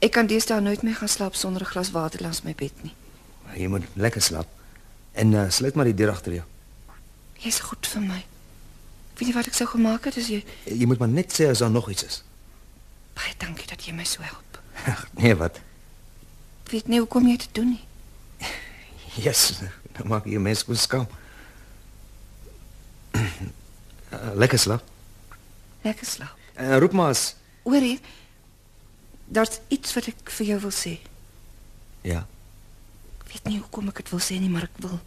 Speaker 9: Ek kan deesdae nooit meer gaan slaap sonder 'n glas water langs my bed nie.
Speaker 6: Jy moet lekker slaap. En uh, sluit maar die deur agter jou.
Speaker 9: Jy's goed vir my. Ek weet nie wat ek sou gemaak het as jy
Speaker 6: Jy moet maar net sê as daar nog iets is.
Speaker 9: baie dankie dat jy my so help.
Speaker 6: Nee, wat?
Speaker 9: Ek weet nie hoekom jy dit doen nie.
Speaker 6: Yes, dan maak jy mens goed skaam. Eh, lekker slaap.
Speaker 9: Lekker slaap.
Speaker 6: Uh, roep maar as
Speaker 9: Hoor hier. Daar's iets wat ek vir jou wil sê.
Speaker 6: Ja.
Speaker 9: Ek weet nie hoekom ek dit wil sê nie, maar ek wil.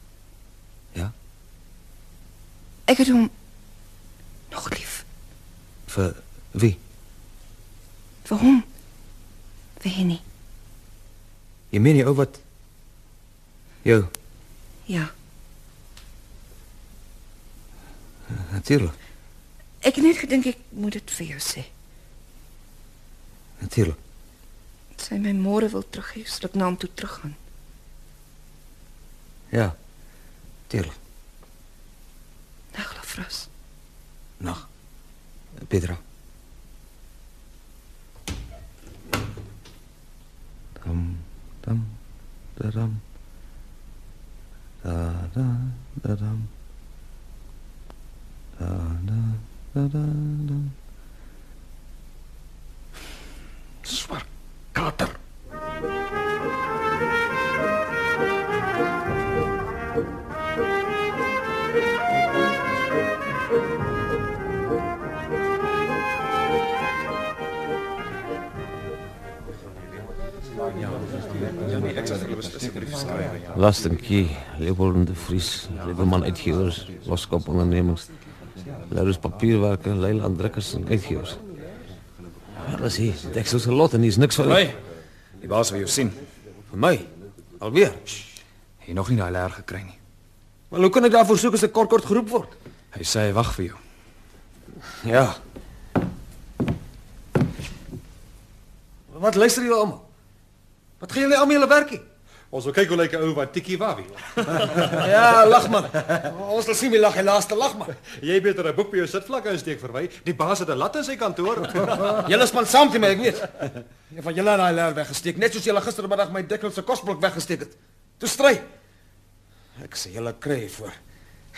Speaker 6: Ja?
Speaker 9: Ek het hom nog lief
Speaker 6: vir wie?
Speaker 9: vir hom. Vir Henny.
Speaker 6: Jy meen die ou wat jou
Speaker 9: Ja.
Speaker 6: natuurlik.
Speaker 9: Ek het net gedink ek moet dit vir jou sê.
Speaker 6: Natuurlik.
Speaker 9: Sy my môre wil terug hê sodat ek na hom toe teruggaan.
Speaker 6: Ja. Tuurlijk.
Speaker 9: Nag, Lafras.
Speaker 6: Nag. Petra. Tam tam daram. Da da daram. Da da da da da. Swart kater.
Speaker 3: Ja,
Speaker 7: Ja nee, ek sal dit beslis skryf.
Speaker 12: Lastenkie, Leopold de Vries, Lieberman Uitgevers, Loskop Ondernemers, Laurens Papierwerken, Leiland Drukkers en Uitgevers. Alles hier, deksels gelot en hier is niks van...
Speaker 7: Hey, die baas wil jou sien.
Speaker 12: Vir my? Alweer?
Speaker 7: Hy nog nie daai leer gekry nie.
Speaker 12: Maar hoe kan ek daarvoor soek as ek kort kort geroep word?
Speaker 7: Hy sê hy wag vir jou.
Speaker 12: Ja.
Speaker 6: Wat luister julle almal? Wat gaan julle almal julle werkie?
Speaker 3: Ons wil kyk hoe lyk 'n ou wat tikkie wawi.
Speaker 6: ja, lag man. Ons sal sien wie lag die laaste lag man.
Speaker 3: Jy beter 'n boek by jou sitvlak insteek verwy. Die baas het 'n lat in sy kantoor.
Speaker 6: Julle span saam te my, ek weet. Een van julle het daai leer weggesteek, net soos julle gistermiddag my dikkel se kosblok weggesteek het. Toe stry. Ek sê julle kry voor.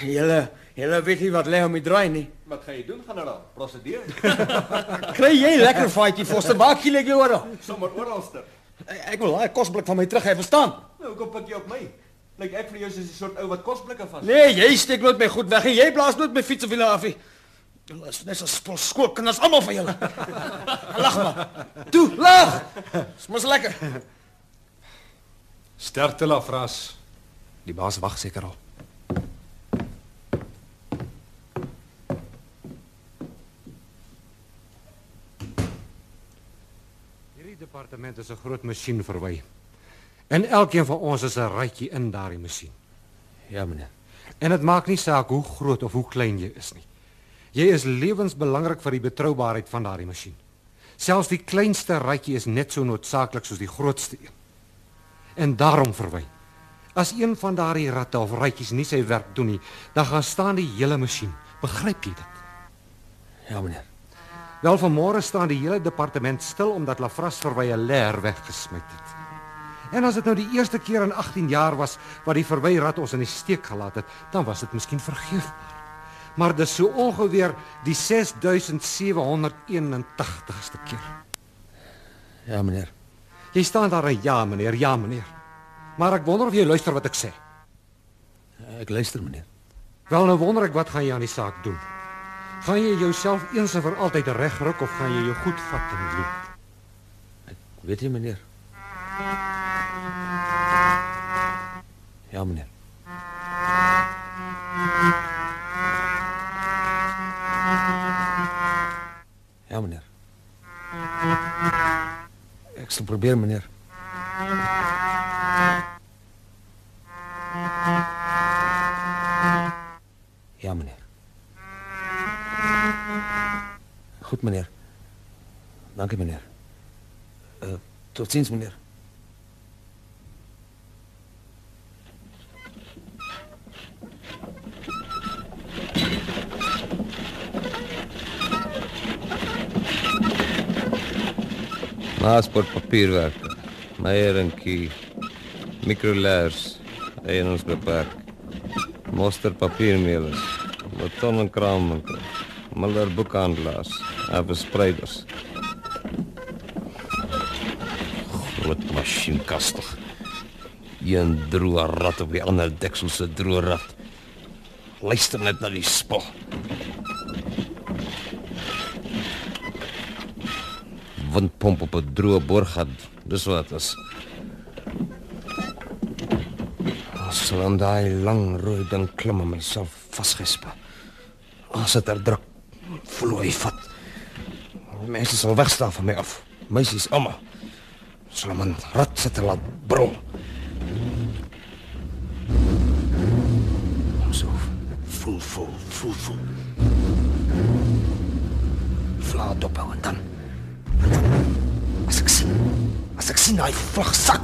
Speaker 6: Julle, julle weet nie wat lê om die draai nie.
Speaker 3: Wat gaan jy doen, generaal? Prosedeer.
Speaker 6: Kry jy lekker fightie Foster, maak jy lekker oral.
Speaker 3: sommer oralster.
Speaker 6: Ek wil daai kosblik van my terug hê, verstaan?
Speaker 3: Nou kom pik jy op my. Lyk ek vir jou soos 'n soort ou wat kosblikke vas.
Speaker 6: Nee, jy steek nooit my goed weg en jy blaas nooit my fiets of wiele af nie. Julle is net so spul skool kinders almal van julle. Lag maar. Toe, lag. Dis mos lekker.
Speaker 3: Sterkte la fras.
Speaker 7: Die baas wag seker al.
Speaker 3: Hierdie departement is 'n groot masjien verwy. En elkeen van ons is 'n ratjie in daardie masjien.
Speaker 12: Ja, meneer.
Speaker 3: En dit maak nie saak hoe groot of hoe klein jy is nie. Jy is lewensbelangrik vir die betroubaarheid van daardie masjien. Selfs die kleinste ratjie is net so noodsaaklik soos die grootste een. En daarom verwy. As een van daardie ratte of ratjies nie sy werk doen nie, dan gaan staan die hele masjien. Begryp jy dit?
Speaker 12: Ja, meneer.
Speaker 3: Wel vanmôre staan die hele departement stil omdat Lafras verwy 'n leer weggesmyt het. En as dit nou die eerste keer in 18 jaar was wat die verwyrat ons in die steek gelaat het, dan was dit miskien vergeefbaar. Maar dis so ongeveer die 6781ste keer.
Speaker 12: Ja, meneer.
Speaker 3: Jy staan daar en ja, meneer, ja, meneer. Maar ek wonder of jy luister wat ek sê.
Speaker 12: Ek luister, meneer.
Speaker 3: Wel nou wonder ek wat gaan jy aan die saak doen? Gaan jy jouself eens en vir altyd regruk of gaan jy jou goed vat en loop?
Speaker 12: Weet jy, meneer? Ja, meneer. Ja, meneer. Ek sal probeer, meneer. Ja, meneer. Goed, meneer. Dankie, meneer. Uh, tot ziens, meneer. Maasport papierwerke, meier en kie, microlaars, eienaarsbeperk, monster papiermeelers, beton en kraamwinkel, Miller boekhandelaars, en verspreiders. Groot masjienkastig. Een droë rat op die ander deksel se droë rat. Luister net na die spul. Windpomp op 'n droë borgat. Dis wat dit is. Ons sal aan daai lang rooi ding klim en myself vasgespa. As dit er druk, vloei vat. Mense sal wegstaan van my af. Meisies almal. Sal man rat sit en laat brul.
Speaker 4: Ons hoef vol vol vol vol.
Speaker 11: Vlaat op en dan. As ek sien, as ek sien daai vlug sak.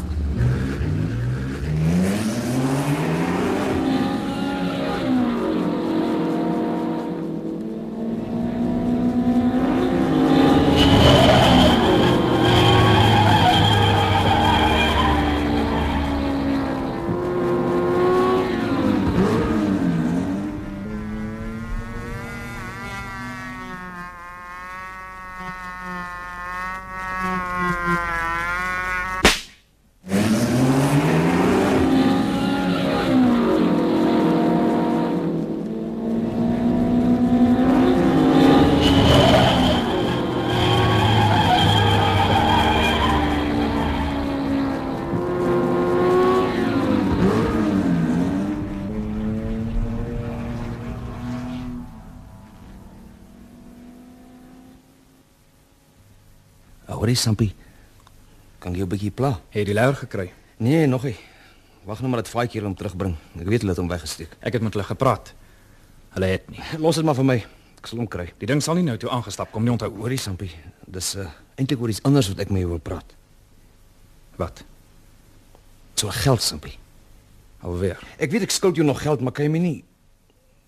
Speaker 4: Thank you.
Speaker 6: Hoor jy, Oh, Sampie? Kan ek jou 'n bietjie pla?
Speaker 7: Het jy die leer gekry?
Speaker 6: Nee, nog nie. Wag nou maar dat vaatjie hom terugbring. Ek weet hulle het hom weggesteek.
Speaker 7: Ek het met hulle gepraat. Hulle het nie.
Speaker 6: Los dit maar vir my. Ek sal hom kry.
Speaker 7: Die ding sal nie nou toe aangestap kom nie, onthou.
Speaker 6: Hoorie, Sampie. Dis uh, eintlik oor iets anders wat ek met jou wil praat.
Speaker 7: Wat?
Speaker 6: So geld, Sampie.
Speaker 7: Alweer.
Speaker 6: Ek weet ek skuld jou nog geld, maar kan jy my nie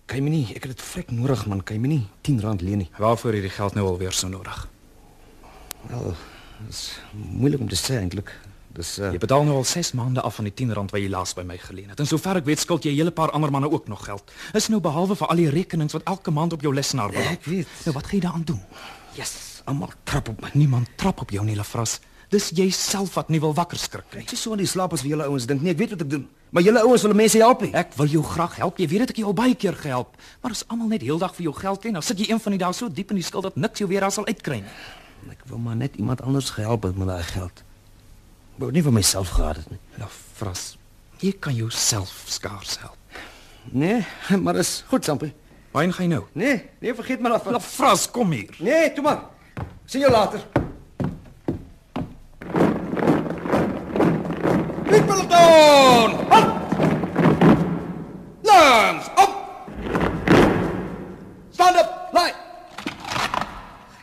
Speaker 6: kan jy my nie, ek het dit vrek nodig man, kan jy my nie 10 rand leen nie.
Speaker 7: Waarvoor hierdie geld nou alweer so nodig?
Speaker 6: Wel, dis moeilik om te sê eintlik. Dis uh,
Speaker 7: Jy betaal nou al 6 maande af van die 10 rand wat jy laas by my geleen het. En sover ek weet, skuld jy 'n hele paar ander manne ook nog geld. Is nou behalwe vir al die rekenings wat elke maand op jou lesenaar beland.
Speaker 6: Ek weet.
Speaker 7: Nou wat gaan jy daaraan doen?
Speaker 6: Yes, almal trap op my.
Speaker 7: Niemand trap op jou nie, Lefras. Dis jy self wat nie wil wakker skrik nie.
Speaker 6: Ek is so aan die slaap as vir julle ouens dink. Nee, ek weet wat ek doen. Maar julle ouens wil mense help nie.
Speaker 7: Ek wil jou graag help. Jy weet dat ek jou al baie keer gehelp, maar as almal net heeldag vir jou geld ken, dan sit jy een van die dae so diep in die skuld dat niks jou weer daar sal uitkry nie.
Speaker 6: Ek wou maar net iemand anders gehelp het met daai geld. Ek wou nie vir myself gehad het nie.
Speaker 7: Lefras, Nou, jy kan jouself skaars help.
Speaker 6: Nee, maar dis goed, Sampie.
Speaker 7: Waarheen gaan jy nou?
Speaker 6: Nee, nee, vergeet maar af.
Speaker 7: Lefras, kom hier.
Speaker 6: Nee, toe maar. Sien jou later.
Speaker 2: Die peloton! Hop! Langs, op! Stand up, lei!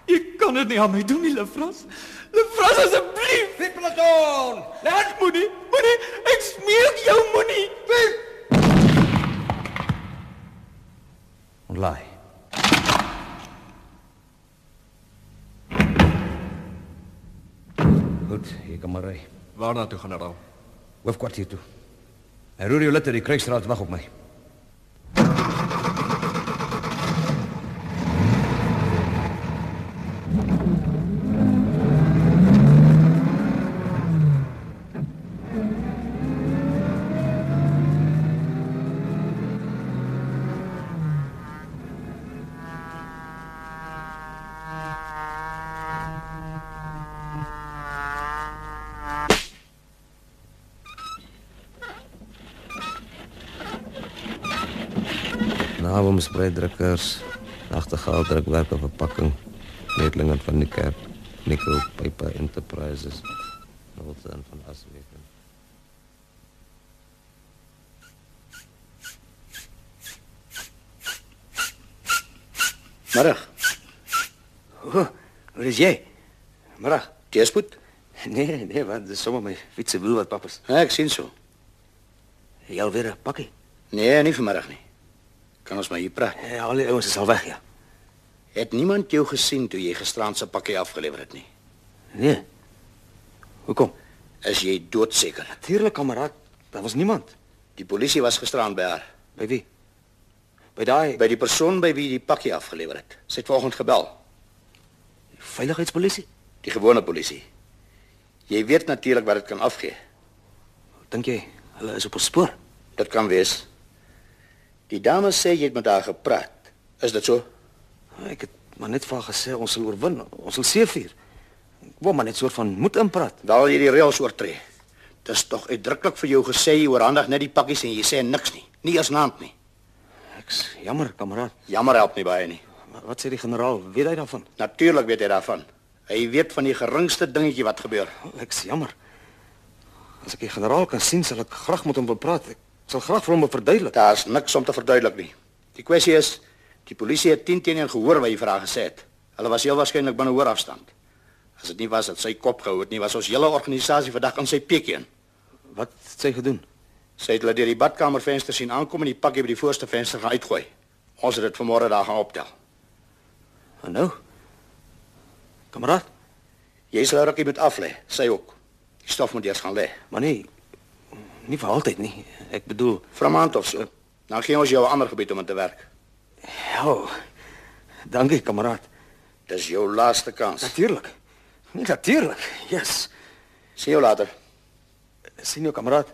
Speaker 7: Ek kan dit nie aan my doen nie, Lefras. Lefras asseblief,
Speaker 2: die peloton!
Speaker 7: laat moenie, moenie, ek smeek jou moenie.
Speaker 2: Piep!
Speaker 6: Laai. Goed, hier kom maar ry.
Speaker 13: Waarna toe, generaal?
Speaker 6: Hoofkwartier toe. En roer jou litter, die kruisstraat wag op my.
Speaker 12: Nawens breidrukkers, agtergaaldrukwerke verpakking, netlinge van die kerk, Nikkel Piper Enterprises, Norton van Aswegen.
Speaker 4: Middag.
Speaker 6: Oh, wat is jy? Middag.
Speaker 4: Teespoed?
Speaker 6: Nee, nee, want dis sommer my fiets se wiel wat pap is.
Speaker 4: Ja, ek sien so.
Speaker 6: Jy alweer 'n pakkie.
Speaker 4: Nee, nie vanmiddag nie. Kan ons maar hier praat.
Speaker 6: Ja, al die ouens is al weg, ja.
Speaker 4: Het niemand jou gesien toe jy gisteraand se pakkie afgelewer het nie?
Speaker 6: Nee. Hoekom?
Speaker 4: Is jy doodseker?
Speaker 6: Natuurlik, kameraad. Daar was niemand.
Speaker 4: Die polisie was gisteraand by haar,
Speaker 6: By wie? By daai
Speaker 4: by die persoon by wie jy die pakkie afgelewer het. Sy het vanoggend gebel,
Speaker 6: veiligheidspolisie.
Speaker 4: die gewone polisie. Jy weet natuurlik wat dit kan afgee.
Speaker 6: Dink jy hulle is op ons spoor?
Speaker 4: Dit kan wees. Die dame sê jy het met haar gepraat. Is dit so?
Speaker 6: Ah, Ek het maar net vir haar gesê ons sal oorwin. Ons sal seëvier. Ek wou maar net soort van moed inpraat.
Speaker 4: Wel jy die reëls oortree. Dis tog uitdruklik vir jou gesê jy oorhandig net die pakkies en jy sê niks nie. Nie eens naam nie.
Speaker 6: Ek's jammer, kameraad.
Speaker 4: Jammer help nie baie nie.
Speaker 6: Maar wat sê die generaal? Weet hy daarvan?
Speaker 4: Natuurlik weet hy daarvan. Hy weet van die geringste dingetjie wat gebeur.
Speaker 6: Ek's Oh, jammer. As ek die generaal kan sien, sal ek graag met hom wil praat. Ek sal graag vir hom wil verduidelik.
Speaker 4: Daar's niks om te verduidelik nie. Die kwessie is die polisie het 10 teen 1 gehoor wat jy vir haar gesê het. Hulle was heel waarskynlik binne hoorafstand. As dit nie was dat sy kop gehou het nie, was ons hele organisasie vandag in sy peekie in.
Speaker 6: Wat het sy gedoen?
Speaker 4: Sy het hulle deur die badkamervenster sien aankom en die pakkie by die voorste venster gaan uitgooi. Ons het dit vanmôre daar gaan optel.
Speaker 6: En nou? Kameraad,
Speaker 4: Jy sal haar rukkie moet aflê, sy ook. Die stof moet eers gaan lê.
Speaker 6: maar nee. Nie vir altyd nie. Ek bedoel,
Speaker 4: Vir 'n maand of so. Dan gee ons jou 'n ander gebied om in te werk.
Speaker 6: ja. Dankie, kameraad.
Speaker 4: Dis jou laaste kans.
Speaker 6: Natuurlik. Nee, natuurlik. Yes.
Speaker 4: Sien jou later.
Speaker 6: Sien jou kameraad.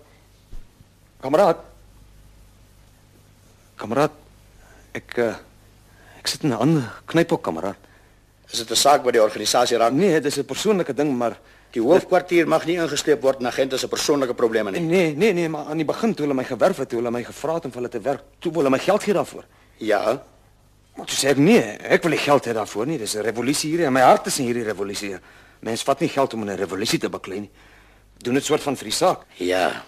Speaker 6: Kameraad. Kameraad. Ek uh, ek sit in 'n ander knyphok, kameraad.
Speaker 4: Is dit 'n saak wat die organisasie raak?
Speaker 6: Nee, dis 'n persoonlike ding, maar
Speaker 4: Die hoofkwartier mag nie ingesleep word in agente se persoonlike probleme nie.
Speaker 6: nee, nee, nee, maar aan die begin toe hulle my gewerf het, toe hulle my gevra het om vir hulle te werk, toe wou hulle my geld gee daarvoor.
Speaker 4: Ja,
Speaker 6: Maar toe sê ek nee, ek wil nie geld hê daarvoor nie. Dis 'n revolusie hier en my hart is in hierdie revolusie. Mens vat nie geld om in 'n revolusie te beklei nie. Doen dit soort van vir die saak.
Speaker 4: Ja.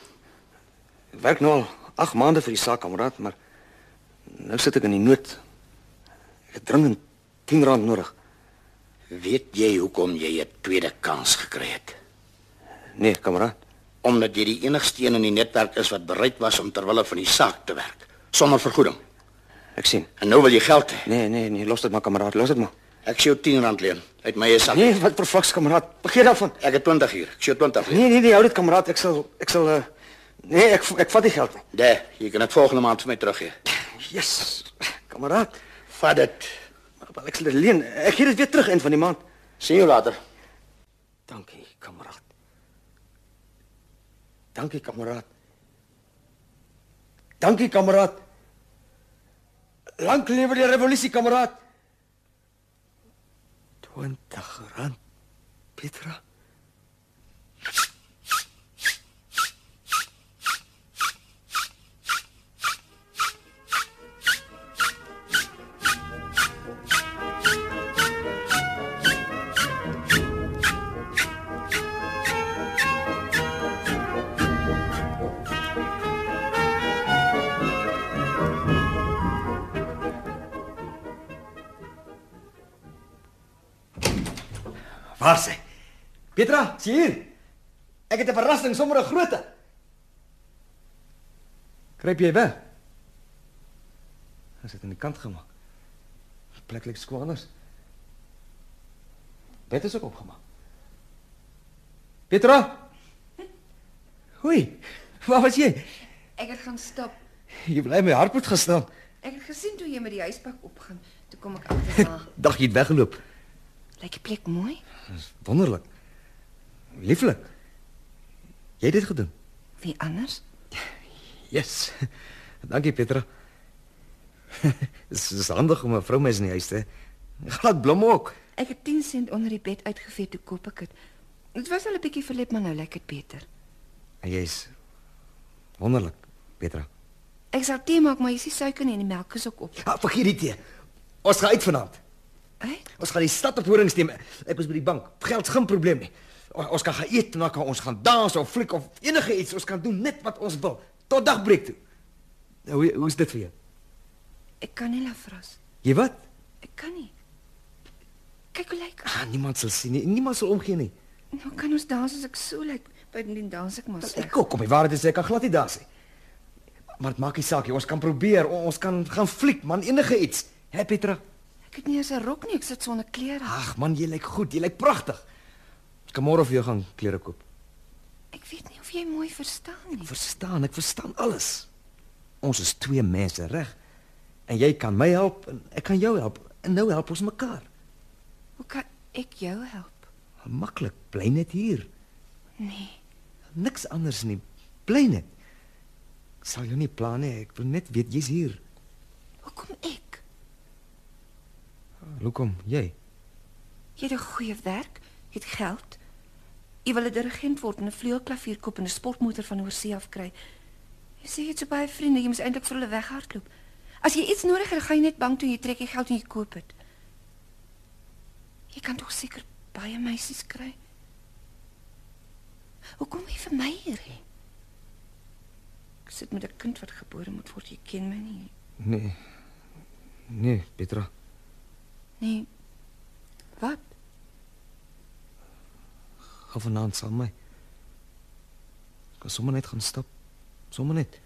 Speaker 6: Werk nou al 8 maande vir die saak, kameraad, maar nou sit ek in die nood. Ek het dringend 10 rand nodig.
Speaker 4: Weet jy hoekom jy 'n tweede kans gekry het?
Speaker 6: Nee, kameraad.
Speaker 4: Omdat jy die enigste een in die netwerk is wat bereid was om ter wille van die saak te werk sonder vergoeding.
Speaker 6: Ek sien.
Speaker 4: En nou wil jy geld hê.
Speaker 6: Nee, nee, nee, los dit maar kameraad, los dit maar.
Speaker 4: Ek sê jou 10 rand leen uit my sak.
Speaker 6: Nee, wat vervlaks kameraad. Begeer daarvan.
Speaker 4: Ek het 20 hier. Ek sê jou 20 leen.
Speaker 6: Nee, nee, nee, hou dit kameraad. Ek sal ek sal eh, nee, ek ek vat die geld nie.
Speaker 4: Daar, jy kan dit volgende maand vir my teruggee.
Speaker 6: Jesus. Kameraad,
Speaker 4: vat dit.
Speaker 6: Maar wel, ek sal dit leen. Ek gee dit weer terug eind van die maand.
Speaker 4: Sien jou later.
Speaker 6: Dankie, kameraad. Dankie, kameraad. Dankie, kameraad. Lank lewe die revolusie, kameraad. 20 rand. Petra.
Speaker 2: Waar sy?
Speaker 6: Petra, sien hier. Ek het 'n verrassing sommer 'n grootte. Kruip jy weg? As dit aan die kant gemaak. Plek lyk skoon anders. Bed is ook opgemaak. Petra? Hoi. Waar was jy?
Speaker 9: Ek het gaan stap.
Speaker 6: Jy bly my hartbloed gestaan.
Speaker 9: Ek het gesien toe jy met die huispak opgaan, toe kom ek agterna.
Speaker 6: Dag jy het weggeloop.
Speaker 9: Lyk die plek mooi?
Speaker 6: Dis wonderlik. Lieflik. Jy het dit gedoen.
Speaker 9: Wie anders?
Speaker 6: Yes. Dankie Petra. Dis is handig om 'n vrou mens in die huis te hê. Glad blomme ook.
Speaker 9: Ek het 10 sent onder die bed uitgevee toe koop ek dit. Dit was al 'n bietjie verlep, maar nou lyk dit beter.
Speaker 6: En jy's wonderlik, Petra.
Speaker 9: Ek sal tee maak, maar jy sien suiker nie en die melk is ook op.
Speaker 6: Ah, vergeet die tee. Ons gaan uit vanaand.
Speaker 9: Uit?
Speaker 6: Ons gaan die stad op horings neem. Ek is by die bank. Geld's geen probleem nie. O- Ons kan gaan eet, en dan kan ons gaan dans of fliek of enige iets. Ons kan doen net wat ons wil tot dagbreek toe. Nou, hoe hoe's dit vir jou?
Speaker 9: Ek kan nie lafras.
Speaker 6: Jy wat?
Speaker 9: Ek kan nie. Kyk hoe lyk.
Speaker 6: Ah, niemand sal sien nie. Niemand sal omgee nie.
Speaker 9: Nou kan ons dans as ek so lyk. Bydien dans ek maar sleg.
Speaker 6: Ek ook, kom, die waarheid is ek kan glad nie daar sê. Maar dit maak nie saak nie. Ons kan probeer. O- Ons kan gaan fliek, man, enige iets. Hè, Petra?
Speaker 9: Ek het nie eens 'n rok nie, ek sit sonder klere.
Speaker 6: Ag man, jy lyk goed. Jy lyk pragtig. Ek kan môre vir jou gaan klere koop.
Speaker 9: Ek weet nie of jy mooi verstaan nie.
Speaker 6: Verstaan, ek verstaan alles. Ons is twee mense, reg? En jy kan my help en ek kan jou help. En nou help ons mekaar.
Speaker 9: Hoe kan ek jou help?
Speaker 6: Maklik, bly net hier.
Speaker 9: Nee.
Speaker 6: Niks anders nie. Bly net. Ek sal jou nie pla nie. Ek wil net weet jy's hier.
Speaker 9: Hoekom ek?
Speaker 6: Hoekom jy?
Speaker 9: Jy het 'n goeie werk, jy het geld. Jy wil 'n dirigent word en 'n vleuelklavier koop en 'n sportmotor van oorsee af kry. Jy sê jy het so baie vriende, jy moet eintlik vir hulle weghardloop. As jy iets nodig het, dan gaan jy net bank toe en jy trek jy geld en jy koop dit. Jy kan tog seker baie meisies kry. Hoekom wil jy vir my hier hê? Ek sit met 'n kind wat gebore moet word, jy ken my nie.
Speaker 6: Nee. Nee, Petra.
Speaker 9: Nee. Wat?
Speaker 6: Gaan vanaand saam met my. Ek kan sommer net gaan stap. Sommer net.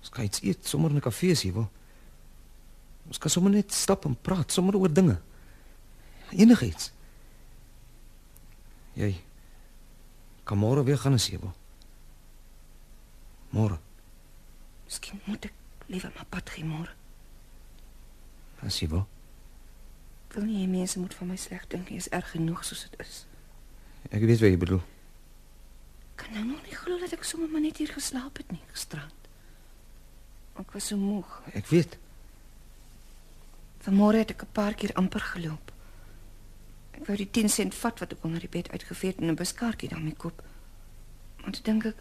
Speaker 6: Ons kan iets eet sommer in 'n kafee as jy wil. Ons kan sommer net stap en praat sommer oor dinge. Enigiets. Jy kan môre weer gaan as jy wil. Môre,
Speaker 9: Miskien moet ek liewer maar pad gaan môre.
Speaker 6: as jy wil.
Speaker 9: Ek wil nie hê mense moet van my sleg dink nie, is erg genoeg soos dit is.
Speaker 6: Ek weet wat jy bedoel.
Speaker 9: Ek kan nou nog nie glo dat ek sommer maar net hier geslaap het nie gisterand. Ek was so moeg.
Speaker 6: Ek weet.
Speaker 9: Vanmôre het ek 'n paar keer amper geloop. Ek wou die 10 sent vat wat ek onder die bed uitgevee het en 'n beskaartjie daarmee koop. Maar toe dink ek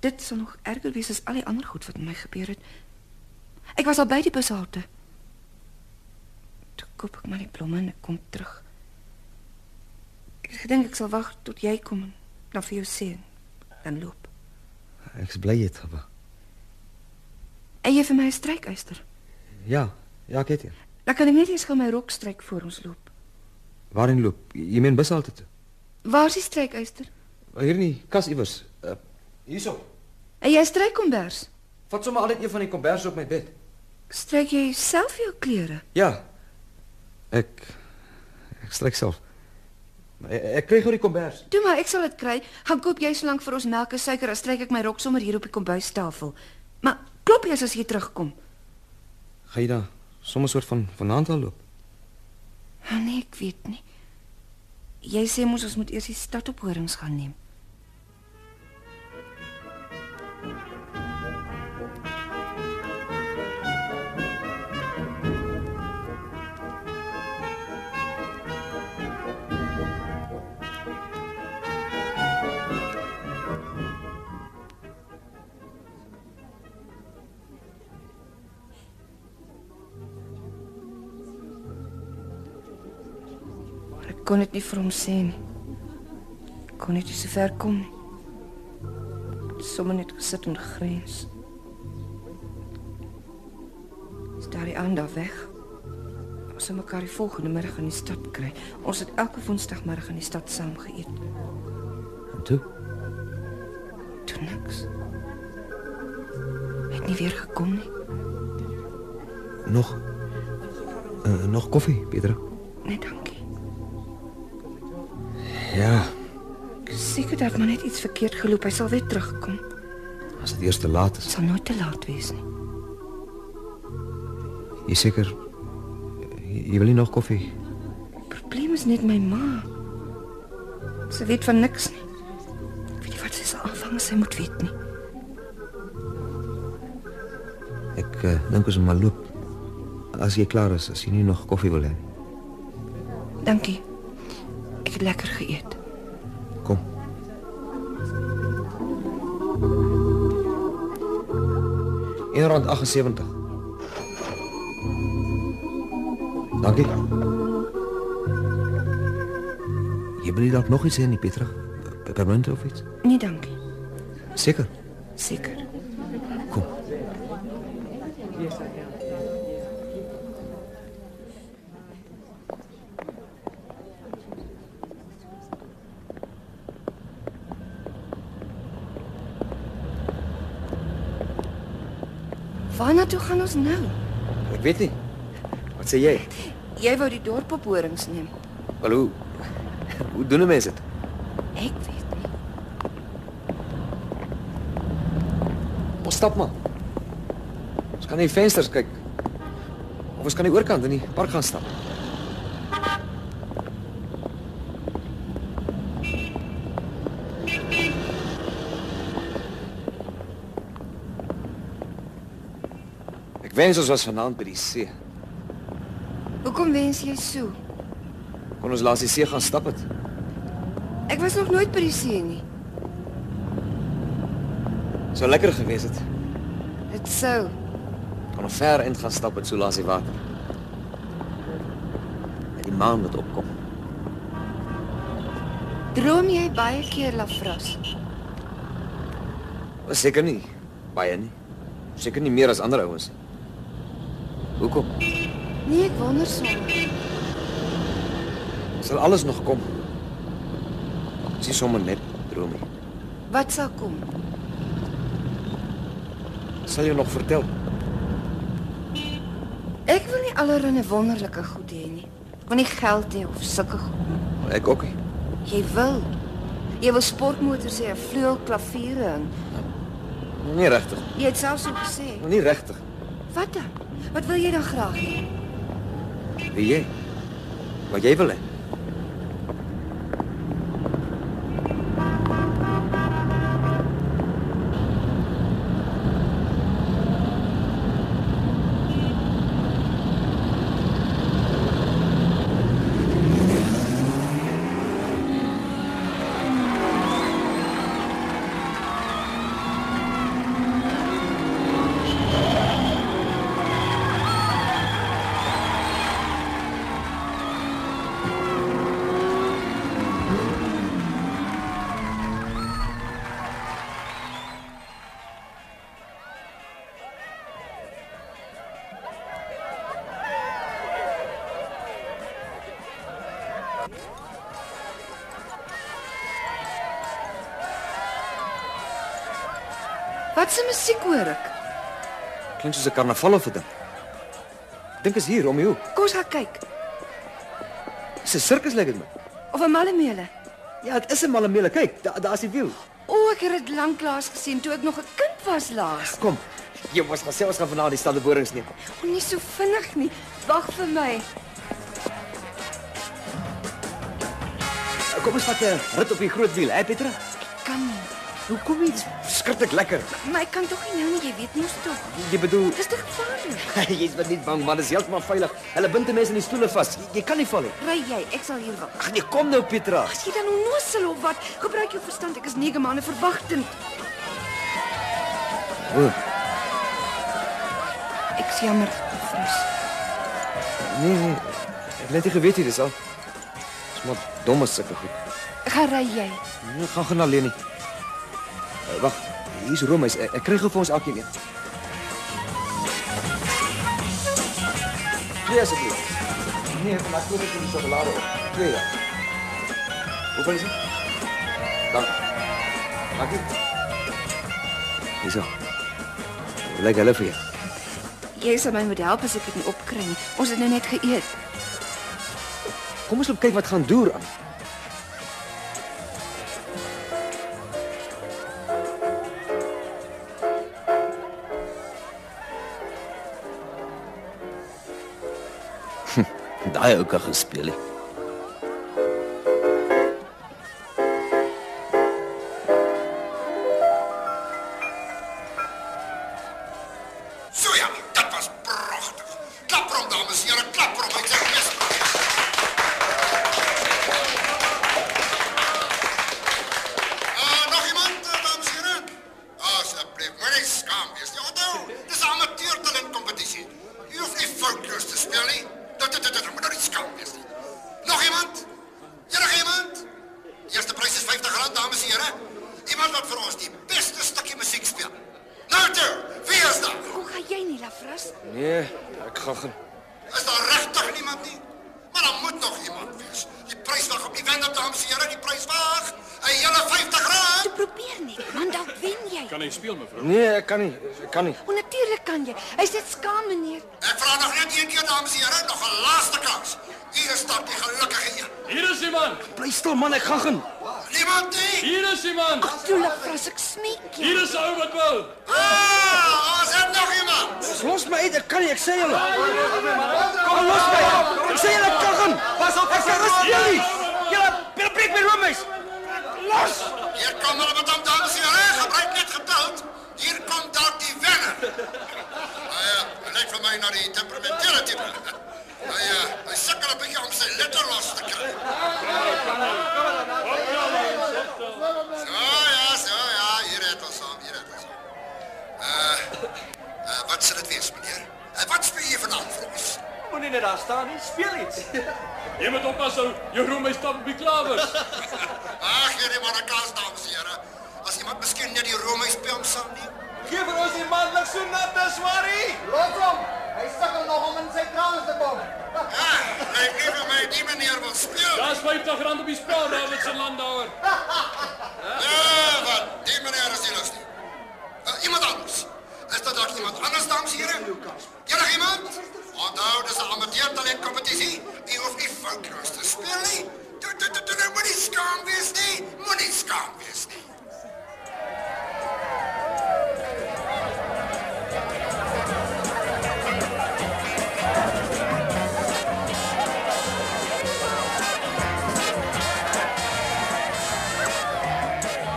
Speaker 9: dit sal nog erger wees as al die ander goed wat met my gebeur het. Ek was al by die bushalte. Toe koop ek maar die blomme en ek kom terug. Ek het gedink ek sal wag tot jy kom en dan vir jou sê dan loop.
Speaker 12: Ek's bly jy het gewa.
Speaker 9: En jy vir my 'n strykuister.
Speaker 12: Ja, ja, ek het hier.
Speaker 9: Dan kan ek net eers gou my rok stryk voor ons loop.
Speaker 12: Waarin loop? Jy meen bus altyd toe.
Speaker 9: Waar is die strykuister?
Speaker 12: Hier in die kas iewers. Uh,
Speaker 6: Hierso.
Speaker 9: En jy stryk kombers.
Speaker 6: Vat sommer altyd een van die komberse op my bed.
Speaker 9: Stryk jy self jou klere?
Speaker 6: Ja,
Speaker 12: ek ek stryk self.
Speaker 6: ek, ek kry gou die kombers.
Speaker 9: Toe maar, ek sal dit kry. Gaan koop jy so lank vir ons melk en suiker, dan stryk ek my rok sommer hier op die kombuistafel. Maar klop eers as jy terugkom.
Speaker 12: Gaan jy daar sommer soort van vanaand al loop?
Speaker 9: Oh, nee, ek weet nie. Jy sê mos ons moet eers die stad op horings gaan neem. Maar ek kon dit nie vir hom sê nie. Ek kon net nie so ver kom nie. Ek het Sommer net gesit en grens. Staar die ander weg. Ons sal mekaar die volgende middag in die stad kry. Ons het elke woensdagmiddag in die stad saam geëet.
Speaker 12: En toe?
Speaker 9: Toe niks. Hy het nie weer gekom nie.
Speaker 12: Nog uh, nog koffie, Pieter?
Speaker 9: Nee, dankie.
Speaker 12: Ja,
Speaker 9: Ek is seker dat maar net iets verkeerd geloop. Hy sal weer terugkom.
Speaker 12: as dit eers te laat is.
Speaker 9: Sal nooit te laat wees nie.
Speaker 12: Jy seker jy, jy wil nie nog koffie?
Speaker 9: probleem is net my ma. Sy weet van niks nie. Ek weet nie wat sy sal aanvang as sy moet weet nie.
Speaker 12: Ek uh, dink ons moet maar loop. As jy klaar is, as jy nie nog koffie wil hê. nie.
Speaker 9: Dankie. Ek het lekker geëet.
Speaker 12: Kom.
Speaker 6: R1.78.
Speaker 12: Dankie. Jy wil nie dalk nog iets hê nie, Pieter? Permanent of iets?
Speaker 9: Nee, dankie.
Speaker 12: Seker.
Speaker 9: Seker.
Speaker 12: Kom.
Speaker 9: Waarna toe gaan ons nou?
Speaker 6: Ek weet nie. Wat sê jy?
Speaker 9: Jy wou die dorp op horings neem.
Speaker 6: Hallo. Hoe doen 'n mens dit?
Speaker 9: Ek weet.
Speaker 6: Ons stap maar. Ons kan in die vensters kyk. Of ons kan die oorkant in die park gaan stap. Ek wens ons was vanaand by die see.
Speaker 9: Hoekom wens jy so?
Speaker 6: Kon ons langs die see gaan stap het.
Speaker 9: Ek was nog nooit by die see nie.
Speaker 6: Sou lekker gewees het.
Speaker 9: Dit sou.
Speaker 6: Kon 'n ver eind gaan stap het so langs die water. En die maan wat opkom.
Speaker 9: Droom jy baie keer Lafras?
Speaker 6: Maar Seker nie. Baie nie. Seker nie meer as ander ouens nie. Hoekom?
Speaker 9: Nee, ek wonder sommer.
Speaker 6: Sal alles nog kom? Dis nie sommer net drome.
Speaker 9: Wat sal kom?
Speaker 6: Sal jou nog vertel.
Speaker 9: Ek wil nie allerlei wonderlike goed hê nie. Ek wil nie geld hê of sulke goed.
Speaker 6: Ek ook nie.
Speaker 9: Jy wil. Jy wil sportmotors hê, 'n vleuel, klaviere en
Speaker 6: Nie regtig.
Speaker 9: jy het selfs so gesê.
Speaker 6: Nie regtig.
Speaker 9: Wat dan? Wat wil jy dan graag hê?
Speaker 6: Wie jy? Wat jy wil hê?
Speaker 9: Wat se musiek hoor ek?
Speaker 6: Klink soos 'n karnaval of 'n ding. Ek Dink is hier om die hoek.
Speaker 9: Kom ons gaan kyk.
Speaker 6: Dis 'n sirkus lyk dit my.
Speaker 9: Of 'n malemele.
Speaker 6: Ja, dit is 'n malemele. Kyk, daar daar's die wiel.
Speaker 9: O, ek het dit lanklaas gesien toe ek nog 'n kind was laas.
Speaker 6: Kom. Jy moet gesê ons gaan vanaand die stad borings neem.
Speaker 9: O, nie so vinnig nie. Wag vir my.
Speaker 6: Kom ons vat 'n rit op die groot wiel, hè Petra?
Speaker 9: Kan nie.
Speaker 6: Hoe kom jy? Dis verskriklik lekker.
Speaker 9: Maar ek kan tog nie nou nie, jy weet mos tog.
Speaker 6: Jy bedoel,
Speaker 9: Dis te gevaarlik.
Speaker 6: jy's wat nie bang, maar dis heeltemal veilig. Hulle bind die mense in die stoele vas. Jy, jy kan nie val nie.
Speaker 9: Ry jy, ek sal hier wag.
Speaker 6: Ag nee, kom nou Petra.
Speaker 9: As jy dan onnoosel of wat, gebruik jou verstand. Ek is 9 maande verwagtend.
Speaker 6: O,
Speaker 9: Ek is jammer, Frans.
Speaker 6: nee nee. Ek het net nie geweet hier is al. Dis maar domme sulke goed.
Speaker 9: Gaan ry jy.
Speaker 6: Nee, gaan gaan alleen nie. Eh, Wag, hier's roomys. Ek, ek kry gou vir ons elkeen een. Nee asseblief. Nee, maar ek moet net die sjokolade op. Twee. ja. Hoeveel is dit? Dank. Dankie. Dis al. Lekker hulle vir jou.
Speaker 9: Jy sal my moet help as ek dit nie opkry nie. Ons het nou net geëet.
Speaker 6: Kom ons loop kyk wat gaan doen aan. Hm.
Speaker 12: Daai ou kan gespeel het.
Speaker 8: Zo ja, dat was prachtig. Klap erop, dames en heren, klap erop. Ik zeg yes. Ah, nog iemand, eh, dames en heren? Alsjeblieft, maar niks skaam wees nie. Onthou, dis 'n amateurtalentkompetisie. U hoef nie foutloos te speel nie. Dit dit dit dit moet nou nie skaam wees nie. Nog iemand? Enige iemand? Eerste prys is R50 dames en here. Iemand wat vir ons die beste stukkie musiek speel. Nou toe, wie is daar?
Speaker 9: Hoe gaan jy nie, Lafras?
Speaker 6: Nee, ek gaan gaan.
Speaker 8: Is daar regtig niemand nie? Maar daar moet nog iemand wees. Die prys wag op die wenner dames en here, die prys wag. 'n Hele R50.
Speaker 9: Jy probeer net, man, dalk wen jy.
Speaker 8: Kan hy speel mevrou?
Speaker 6: Nee, ek kan nie. Ek kan nie.
Speaker 9: O, natuurlik kan jy. Hy's net skaam, meneer.
Speaker 8: Ek vra nog net een keer dames en here, nog 'n laaste kans. Hier is dalk die gelukkige een. Hier is iemand.
Speaker 6: Bly stil man, ek gaan gaan.
Speaker 8: Niemand nie. Hier is iemand.
Speaker 9: Kom toe, Lafras, ek smeek jou.
Speaker 8: Hier is ou wat wil. Ah, ons het nog iemand.
Speaker 6: Los my uit, ek kan nie, ek sê julle.
Speaker 8: Kom
Speaker 6: Kom los my. Ek sê julle ek kan gaan. Pas op, ek sê rus speel nie. Julle, julle breek my roomys.
Speaker 8: Los! Hier kom hulle met hom, dames en here. Gebruik net geduld. Hier kom dalk die wenner. Hy uh, lyk vir my na die temperamentele tipe. Hy uh, hy sukkel 'n bietjie om sy litte los te kry. So ja, so ja, hier het ons hom, hier het ons hom. Uh, uh, wat sal dit wees, meneer? Uh, wat speel jy vanaand vir ons?
Speaker 14: Moenie net daar staan nie, speel iets. Jy moet oppas ou, jou roem is stap op die klawers.
Speaker 8: Ag, hierdie man se kans dames en here. As iemand miskien net die Rome speel om sal nie.
Speaker 14: Gee vir ons die man lik so nat as warie.
Speaker 8: Los hom. Hy sukkel nog om in sy kraans te kom. Ja, hy gee vir my die meneer wil speel.
Speaker 14: Daar's R50 op die spel, Robert se landouer.
Speaker 8: Ja, wat? Die meneer is nie lus nie. Uh, iemand anders. Is dit dalk iemand anders dames en here? Enige iemand? Onthou, dis 'n amateur talent kompetisie. Jy hoef nie foutloos te speel nie. Toe toe toe toe nou moenie skaam wees nie. Moenie skaam wees nie.
Speaker 9: Nou,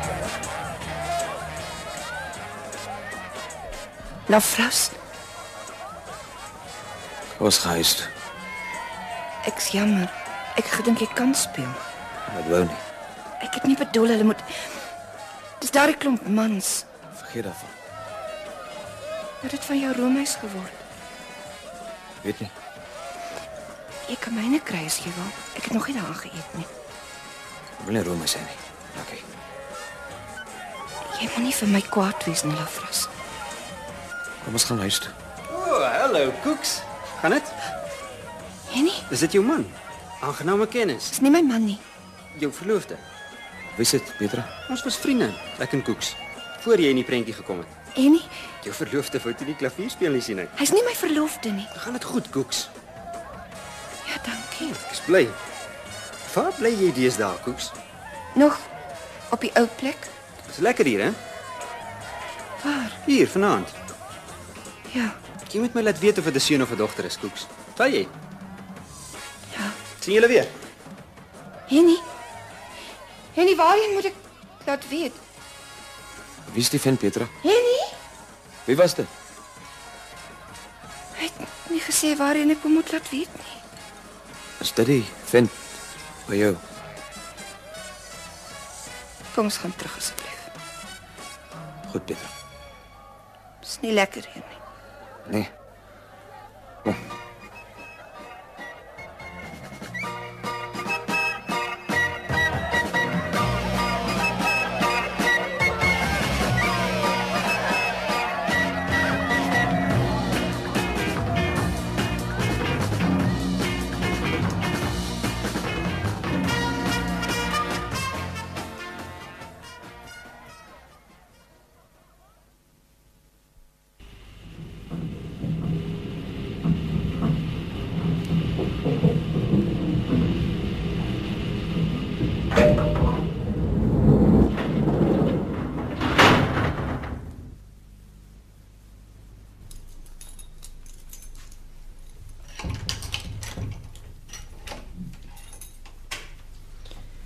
Speaker 9: Lafras,
Speaker 12: Ons gaan huis toe.
Speaker 9: ek's jammer. Ek het gedink jy kan speel.
Speaker 12: Ek wou nie.
Speaker 9: Ek het nie bedoel hulle moet Dis daardie klomp mans.
Speaker 12: Vergeet daarvan.
Speaker 9: Wat het van jou roomys geword?
Speaker 12: Weet nie.
Speaker 9: Jy kan myne kry as jy wil. Ek het nog nie daaraan geëet nie.
Speaker 12: Ek wil nie roomys hê nie. Dankie.
Speaker 9: Jy moenie vir my kwaad wees nie, Lafras.
Speaker 12: Kom ons gaan huis toe.
Speaker 6: O, oh, hallo Koeks. Gaan dit?
Speaker 9: Henny,
Speaker 6: Is dit jou man?
Speaker 15: Aangename kennis.
Speaker 9: Dis nie my man nie.
Speaker 15: Jou verloofde. Wie sit, Petra? Ons was vriende, ek en Koeks. Voor jy in die prentjie gekom het.
Speaker 9: En nie,
Speaker 15: Jou verloofde wou toe nie klavier speel nie sien ek.
Speaker 9: hy's nie my verloofde nie.
Speaker 15: Gaan dit goed, Koeks?
Speaker 9: Ja, dankie.
Speaker 15: Ek is bly. Waar bly jy deesdae, Koeks?
Speaker 9: Nog op die ou plek?
Speaker 15: Dis lekker hier, hè?
Speaker 9: Waar?
Speaker 15: Hier vanaand.
Speaker 9: Ja.
Speaker 15: Jy moet my laat weet of dit 'n seun of 'n dogter is, Koeks. Val jy? Ja. Sien julle weer?
Speaker 9: Henny. Henny, waarheen moet ek laat weet?
Speaker 6: Wie is die vent, Petra?
Speaker 9: Henny,
Speaker 6: Wie was dit?
Speaker 9: hy het nie gesê waarheen ek hom moet laat weet nie.
Speaker 6: Is dit die vent by jou?
Speaker 9: Kom ons gaan terug asseblief.
Speaker 6: Goed, Petra.
Speaker 9: Dis nie lekker hier nie.
Speaker 6: Nee. nee.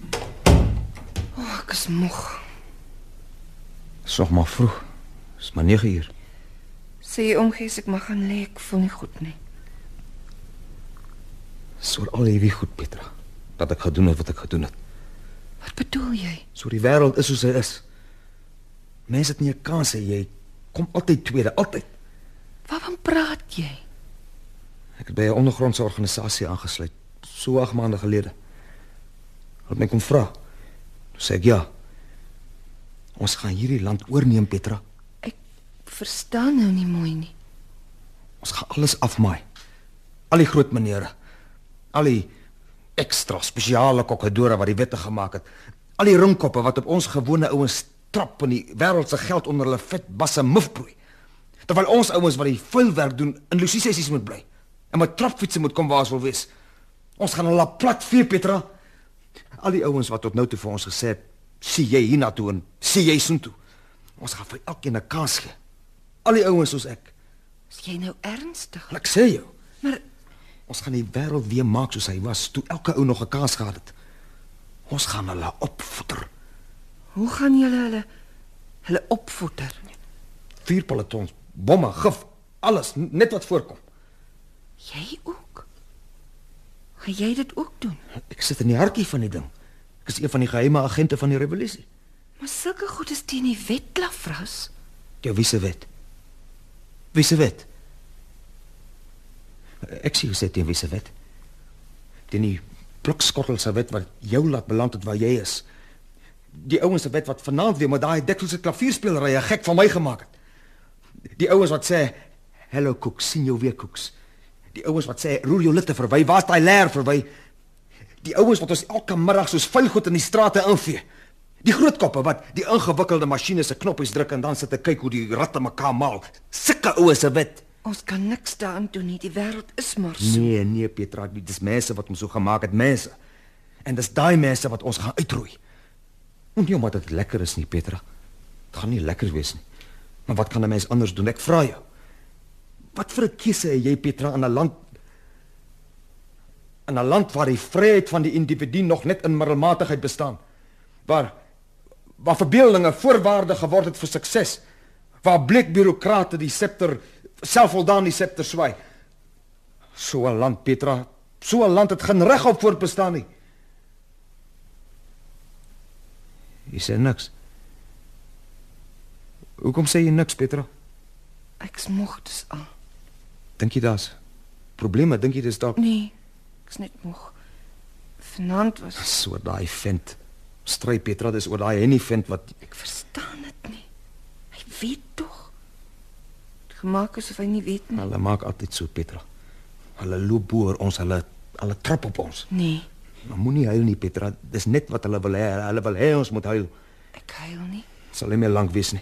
Speaker 9: O, oh, ek is moeg.
Speaker 6: Is nog maar vroeg. Is maar 9 uur.
Speaker 9: Sê jy omgee as ek mag gaan lê, ek voel nie goed nie.
Speaker 6: Is oor al hierdie goed, Petra. Dat ek gedoen het wat ek gedoen het.
Speaker 9: Wat bedoel jy?
Speaker 6: So die wêreld is soos hy is. Mense het nie 'n kans hê jy kom altyd tweede, altyd.
Speaker 9: Waarvan praat jy?
Speaker 6: Ek het by 'n ondergrondse organisasie aangesluit so 8 maande gelede. Hulle het my kom vra. Toe sê ek ja. Ons gaan hierdie land oorneem, Petra.
Speaker 9: Verstaan nou nie mooi nie.
Speaker 6: Ons gaan alles afmaai. Al die groot maniere. Al die ekstra spesiale kokkedore wat die wette gemaak het. Al die ringkoppe wat op ons gewone ouens trap en die wêreld se geld onder hulle vet basse mufproei. Terwyl ons ouens wat die vuilwerk doen in lusie sessies moet bly. En met trapfietsse moet kom waar ons wil wees. Ons gaan hulle plat vee, Petra. Al die ouens wat tot nou toe vir ons gesê het, "Sien jy hiernatoe en sien jy soontoe." Ons gaan vir elkeen 'n kans gee. Al die ouens soos ek.
Speaker 9: Is jy nou ernstig?
Speaker 6: En ek sê jou.
Speaker 9: Maar-
Speaker 6: ons gaan die wêreld weer maak soos hy was toe elke ou nog 'n kans gehad het. Ons gaan hulle opvoeder.
Speaker 9: Hoe gaan julle hulle hulle opvoeder?
Speaker 6: Vier pelotons, bomme, gif, alles n- net wat voorkom.
Speaker 9: Jy ook? Gaan jy dit ook doen?
Speaker 6: Ek sit in die hartjie van die ding. Ek is een van die geheime agente van die revolusie.
Speaker 9: Maar sulke goed is teen die wet lafras.
Speaker 6: Jou wie se wet? Wie se wet? Ek sê jy sê teen wie se wet? Teen die blokskottel se wet wat jou laat beland het waar jy is. Die ouens se wet wat vanaand weer met daai dikkelse klavierspelerye gek van my gemaak het. Die ouens wat sê hello koek, sien jou weer koeks. Die ouens wat sê roer jou litte verby, waar's daai leer verby? Die ouens wat ons elke middag soos vuil goed in die strate invee. Die groot koppe wat die ingewikkelde masjiene se knoppies druk en dan sit ek kyk hoe die ratte mekaar maal. Sulke oues se wet.
Speaker 9: Ons kan niks daaraan doen nie. Die wêreld is maar so.
Speaker 6: Nee, nee Petra, dit is mense wat ons so gemaak het, mense. En dis daai mense wat ons gaan uitroei. En nie omdat dit lekker is nie, Petra. Dit gaan nie lekker wees nie. Maar wat kan 'n mens anders doen? Ek vra jou. Wat vir 'n keuse het jy, Petra, in 'n land in 'n land waar die vryheid van die individu nog net in middelmatigheid bestaan? Waar waar verbeeldinge voorwaarde geword het vir sukses? Waar bleek bureaukrate die scepter selfvoldaan die scepter swaai? So 'n land, Petra, so 'n land het geen reg op voortbestaan nie. Jy sê niks. Hoekom sê jy niks, Petra?
Speaker 9: Ek's moeg dis al.
Speaker 6: Dink jy daar's probleme? Dink jy dis dalk
Speaker 9: Nee, ek's net moeg. Vanaand was
Speaker 6: Dis oor daai vent. Stry Petra, dis oor daai Henny vent wat
Speaker 9: ek verstaan dit nie. Hy weet tog. Het Gemaak asof hy nie weet nie.
Speaker 6: hulle maak altyd so, Petra. Hulle loop boor ons, hulle Hulle trap op ons.
Speaker 9: Nee,
Speaker 6: Maar moenie huil nie, Petra. Dis net wat hulle wil hê. Hulle wil hê ons moet huil.
Speaker 9: ek huil nie.
Speaker 6: Het sal nie meer lank wees nie.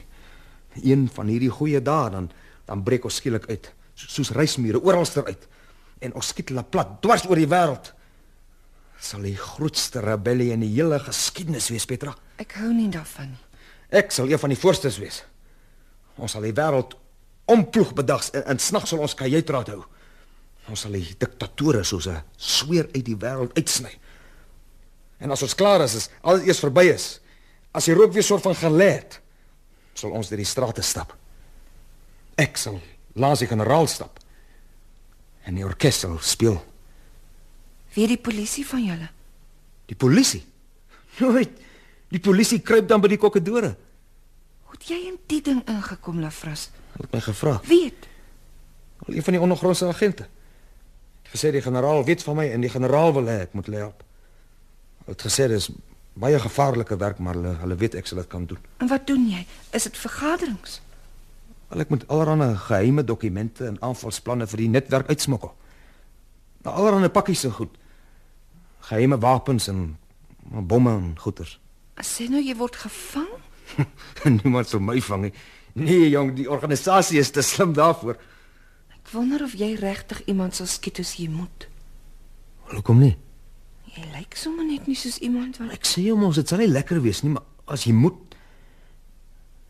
Speaker 6: Een van hierdie goeie dae dan dan breek ons skielik uit, so, soos reismure oralster uit. En ons skiet hulle plat dwars oor die wêreld. Sal die grootste rebellie in die hele geskiedenis wees, Petra.
Speaker 9: Ek hou nie daarvan nie.
Speaker 6: Ek sal een van die voorstes wees. Ons sal die wêreld omploeg bedags en, en snags sal ons kajuitraad hou. Ons sal die diktatore soos 'n sweer uit die wêreld uitsny. En as ons klaar is, as alles eers verby is, as die rook weer soort van gelê het, sal ons deur die strate stap. Ek sal laas die generaal stap. En die orkes sal speel.
Speaker 9: Weet die polisie van julle?
Speaker 6: Die polisie. Nooit. Die polisie kruip dan by die kokkedore.
Speaker 9: Hoe het jy in die ding ingekom, Lafras?
Speaker 6: Hulle het my gevra.
Speaker 9: Weet,
Speaker 6: Al een van die ondergrondse agente. Het gesê die generaal weet van my en die generaal wil hê ek moet hulle help. Hulle het gesê dis baie gevaarlike werk, maar hulle hulle weet ek sal dit kan doen.
Speaker 9: en wat doen jy? Is dit vergaderings?
Speaker 6: Al ek moet allerlei geheime dokumente en aanvalsplanne vir die netwerk uitsmokkel. Na allerlei pakkies en goed. Geheime wapens en bomme en goeder.
Speaker 9: As sê nou jy word gevang?
Speaker 6: Niemand sal my vang nie. Nee, jong, die organisasie is te slim daarvoor.
Speaker 9: Ek wonder of jy regtig iemand sal skiet as jy moet.
Speaker 6: Hoekom nie?
Speaker 9: Jy lyk sommer net nie soos iemand wat
Speaker 6: Ek sê hom ons dit sal nie lekker wees nie, maar as jy moet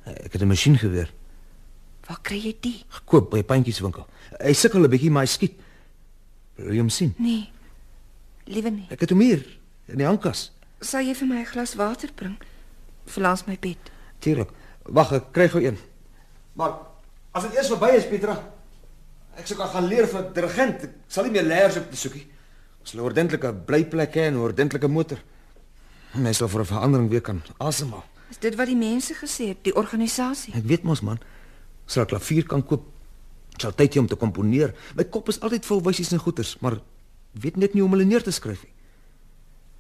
Speaker 6: Eh, ek het 'n masjien geweer
Speaker 9: Waar kry jy die?
Speaker 6: gekoop by 'n pandjieswinkel. Hy sukkel 'n bietjie maar hy skiet. Wil jy hom sien?
Speaker 9: Nee. Liewe nie.
Speaker 6: Ek het hom hier in die handkas.
Speaker 9: Sal jy vir my 'n glas water bring? Verlaas my bed.
Speaker 6: Tuurlik. Wag, ek kry gou een.
Speaker 16: Maar as dit eers verby is, Pietra,
Speaker 6: Ek sou kan gaan leer vir dirigent. Ek sal nie meer leers op te soekie. Ons lê ordentlike blyplek hê en 'n ordentlike motor. Mense sal vir 'n verandering weer kan asemhaal.
Speaker 9: Is dit wat die mense gesê het, die organisasie?
Speaker 6: Ek weet mos man, ek sal 'n klavier kan koop. Ek sal tyd hê om te komponeer. My kop is altyd vol wysies en goeters, maar weet net nie hoe om hulle neer te skryf nie.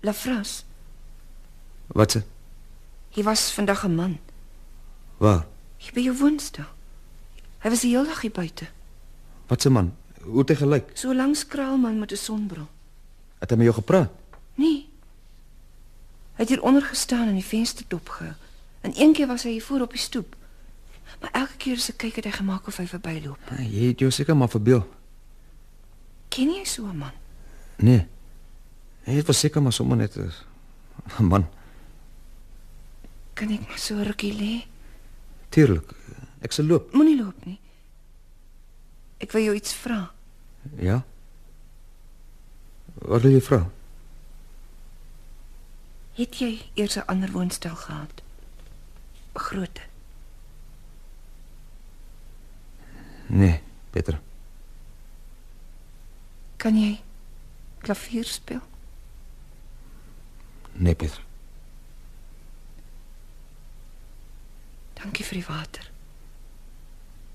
Speaker 9: Lafras,
Speaker 6: Wat se?
Speaker 9: hy was vandag 'n man.
Speaker 6: Waar?
Speaker 9: Hy by jou woonstel. Hy was die hele dag hier buite.
Speaker 6: Wat se man? Hoe het hy gelyk?
Speaker 9: So lank skraalman met 'n sonbril.
Speaker 6: Het hy met jou gepraat?
Speaker 9: Nee. Hy het hier onder gestaan en die vensterdop gehou. En een keer was hy hier voor op die stoep. Maar elke keer as ek kyk het hy gemaak of hy verbyloop.
Speaker 6: Ja, jy het jou seker maar verbeel.
Speaker 9: Ken jy so 'n man?
Speaker 6: Nee. Hy het was seker maar sommer net 'n 'n man.
Speaker 9: Kan ek maar so rukkie lê?
Speaker 6: Tuurlik. Ek sal loop.
Speaker 9: Moenie loop nie. Ek wil jou iets vra.
Speaker 6: Ja. Wat wil jy vra?
Speaker 9: Het jy eers 'n ander woonstel gehad? 'n Groot.
Speaker 6: Nee, Petra.
Speaker 9: Kan jy klavier speel?
Speaker 6: Nee, Petra.
Speaker 9: Dankie vir die water.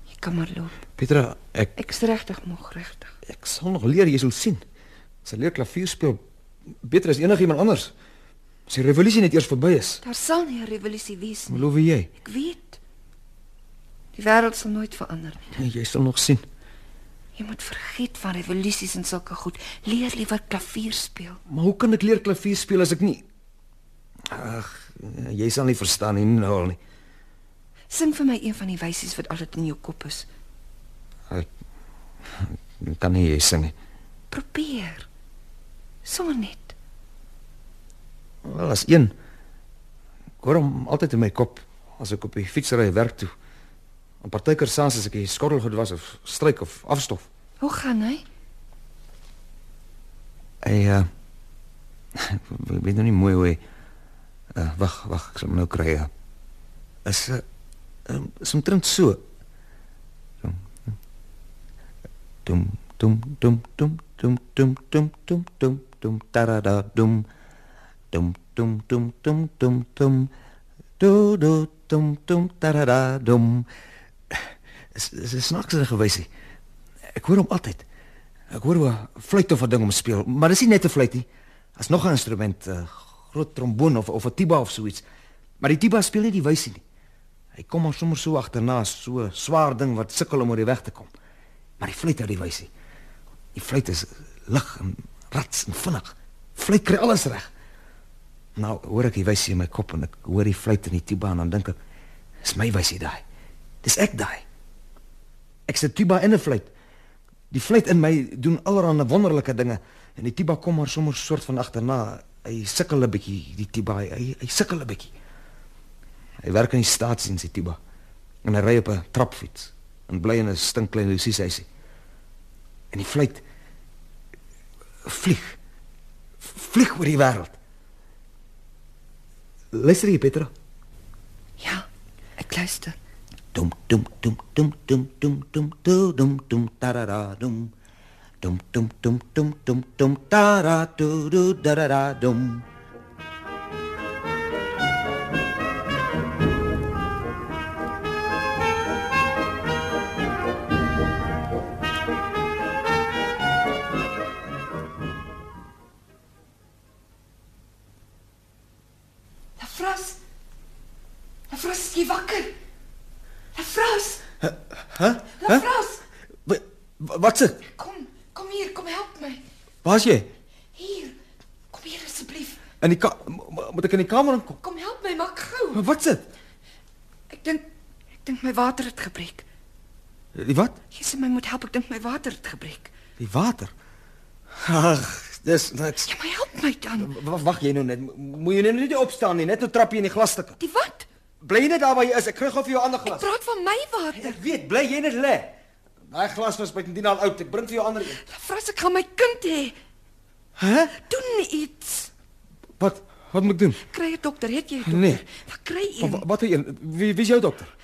Speaker 9: Jy kan maar loop.
Speaker 6: Petra, ek
Speaker 9: Ek's regtig moeg regtig.
Speaker 6: Ek sal nog leer, jy sal sien. Ek sal leer klavier speel beter as enigiemand anders. As die revolusie net eers verby is.
Speaker 9: Daar sal nie 'n revolusie wees nie.
Speaker 6: Beloof jy?
Speaker 9: Ek weet. Die wêreld sal nooit verander nie.
Speaker 6: Jy sal nog sien.
Speaker 9: Jy moet vergeet van revolusies en sulke goed. Leer liewer klavier speel.
Speaker 6: Maar hoe kan ek leer klavier speel as ek nie Ag, eh, jy sal nie verstaan nie nou al nie.
Speaker 9: Sing vir my een van die wysies wat altyd in jou kop is.
Speaker 6: Ek kan nie jy sing nie.
Speaker 9: Probeer. Sommer net.
Speaker 6: Wel as een Gorom altyd in my kop as ek op die fietsry werk toe. En partykeer saans as ek die skottel goed was of stryk of afstof.
Speaker 9: Hoe gaan hy?
Speaker 6: Hy uh ek weet nog nie mooi hoe hy uh, wag, wag, ek sal hom nou kry. Uh, is uh, um, is omtrent so. Dum dum dum dum dum dum dum dum dum dum tarada dum dum dum dum dum dum dum do do dum dum tarada dum Is is 'n snaakse gewysie. Ek hoor hom altyd. Ek hoor hoe 'n fluit of 'n ding hom speel, maar dis nie net 'n fluit nie. As nog 'n instrument, 'n groot tromboon of of 'n tuba of so iets. Maar die tuba speel nie die wysie nie. Hy kom maar sommer so agterna, so 'n swaar ding wat sukkel om oor die weg te kom. Maar die fluit hou die wysie. Die fluit is lig en Rats en vinnig. Fluit kry alles reg. Nou, hoor ek die wysie in my kop en ek hoor die fluit in die tuba en dan dink ek, dis my wysie daai. Dis ek daai. Ek sit tuba in 'n fluit. Die fluit in my doen allerlei wonderlike dinge en die tuba kom maar sommer soort van agterna. Hy sukkel 'n bietjie, die tuba, hy, hy sukkel 'n bietjie. Hy werk in die staatsdiens die tuba en hy ry op 'n trapfiets en bly in 'n stinkklein lusieshuisie. En die fluit vlieg vlieg oor die wêreld. Luister jy, Petra?
Speaker 9: Ek luister.
Speaker 17: Dum dum dum dum dum dum dum dum dum dum tarara dum. Dum dum dum dum dum dum tara tu du darara dum.
Speaker 9: Lafras. Lafras, jy wakker? Lafras,
Speaker 6: Hæ? Hæ?
Speaker 9: Lafras,
Speaker 6: Wa- Wat se?
Speaker 9: kom hier, kom help my.
Speaker 6: Waar's jy?
Speaker 9: Hier. Kom hier asseblief.
Speaker 6: In die ka- mo- mo- moet ek in die kamer inkom?
Speaker 9: Kom help my, maak gou.
Speaker 6: Maar Wat se?
Speaker 9: Ek dink ek dink my water het gebreek.
Speaker 6: Die wat?
Speaker 9: Jy sê my moet help, ek dink my water het gebreek.
Speaker 6: Die water. Ag, dis niks. Ja,
Speaker 9: maar help my dan.
Speaker 2: Wag jy nou net. Mo- Moet jy nou net opstaan nie, net nou trap jy in die glasstukke.
Speaker 9: Die wat?
Speaker 2: Bly jy net daar waar jy is. Ek kry gou vir jou ander glas.
Speaker 9: Praat van my water.
Speaker 2: Ek weet, bly jy net lê. Daai glas was bytendien al oud. Ek bring vir jou ander een.
Speaker 9: Lafras, ek gaan my kind hê.
Speaker 6: Hæ?
Speaker 9: Doen iets.
Speaker 6: Wat wat moet ek doen?
Speaker 9: Kry 'n dokter, het jy 'n dokter?
Speaker 6: Nee.
Speaker 9: Dan kry
Speaker 6: Wa-
Speaker 9: een.
Speaker 6: wa- Wat hy wie wie's jou dokter?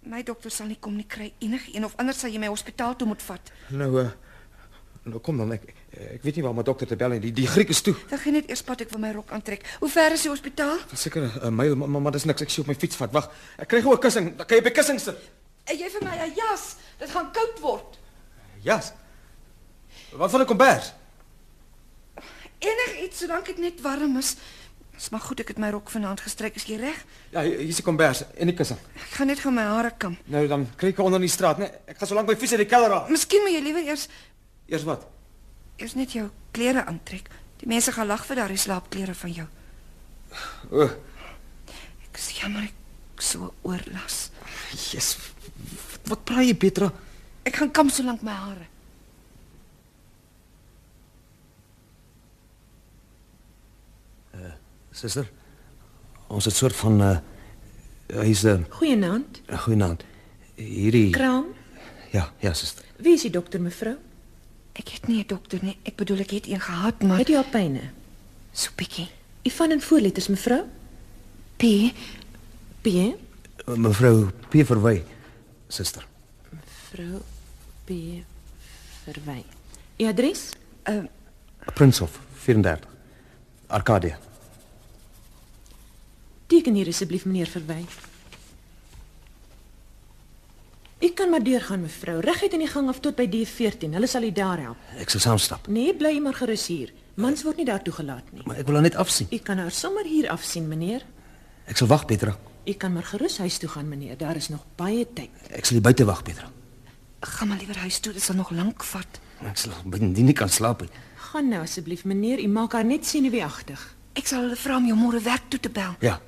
Speaker 9: My dokter sal nie kom nie, kry enige een of anders sal jy my hospitaal toe moet vat.
Speaker 2: Nou eh nou kom dan ek ek weet nie waar my dokter te bel nie. Die die Griek is toe.
Speaker 9: Dan gaan net eers pad ek vir my rok aantrek. Hoe ver is die hospitaal?
Speaker 2: Seker 'n myl, maar, maar, maar dis niks. Ek sien op my fiets vat. Wag. Ek kry gou 'n kussing. Dan kan jy by kussing sit.
Speaker 9: En jy vir my 'n jas, dit gaan koud word.
Speaker 2: Jas. Wat van 'n kombers?
Speaker 9: Enig iets solank dit net warm is. Dis maar goed ek het my rok vanaand gestryk, is jy reg?
Speaker 2: Ja, hier hier is 'n kombers en 'n kussing.
Speaker 9: Ek gaan net gaan my hare kam.
Speaker 2: Nou dan kry ek onder in die straat, né? Ek gaan so lank my fiets uit die kelder af.
Speaker 9: Miskien moet jy liewer eers
Speaker 2: Eers wat?
Speaker 9: eers net jou klere aantrek. Die mense gaan lag vir daardie slaapklere van jou.
Speaker 2: O,
Speaker 9: Ek is jammer ek so oorlas.
Speaker 2: Jesus. Wat praai jy, Petra?
Speaker 9: Ek gaan kam solank my hare.
Speaker 6: Suster, ons het soort van
Speaker 2: eh,
Speaker 6: uh hy's 'n
Speaker 18: Goeienaand.
Speaker 6: uh, goeienaand. Hierdie
Speaker 18: Kraam.
Speaker 6: Ja, ja, suster.
Speaker 18: Wie is die dokter mevrou?
Speaker 9: Ek het nie 'n dokter nie. Ek bedoel ek het een gehad, maar
Speaker 18: Het u al pyne?
Speaker 9: So bietjie.
Speaker 18: U van in voorletters mevrou?
Speaker 9: P.
Speaker 18: P.
Speaker 6: Eh, Mevrou P verwy, suster.
Speaker 18: Mevrou P. Verwy. U adres?
Speaker 9: Uh,
Speaker 6: Prinshof 34. Arcadia.
Speaker 18: Teken hier asseblief meneer Verwy. U kan maar deurgaan mevrou, reguit in die gang af tot by D14. Hulle sal u daar help.
Speaker 6: Ek sal saamstap,
Speaker 18: Nee, bly maar gerus hier. Mans word nie daar toegelaat nie.
Speaker 6: maar ek wil haar net afsien.
Speaker 18: U kan haar sommer hier afsien meneer.
Speaker 6: Ek sal wag, Petra.
Speaker 18: U kan maar gerus huis toe gaan meneer, daar is nog baie tyd.
Speaker 6: Ek sal hier buite wag, Petra.
Speaker 9: Gaan maar liewer huis toe, dit sal nog lank vat.
Speaker 6: Ek sal binne nie kan slaap nie.
Speaker 18: Gaan nou asseblief meneer, u maak haar net senuweeagtig.
Speaker 9: Ek sal hulle vra om jou môre werk toe te bel.
Speaker 6: Ja.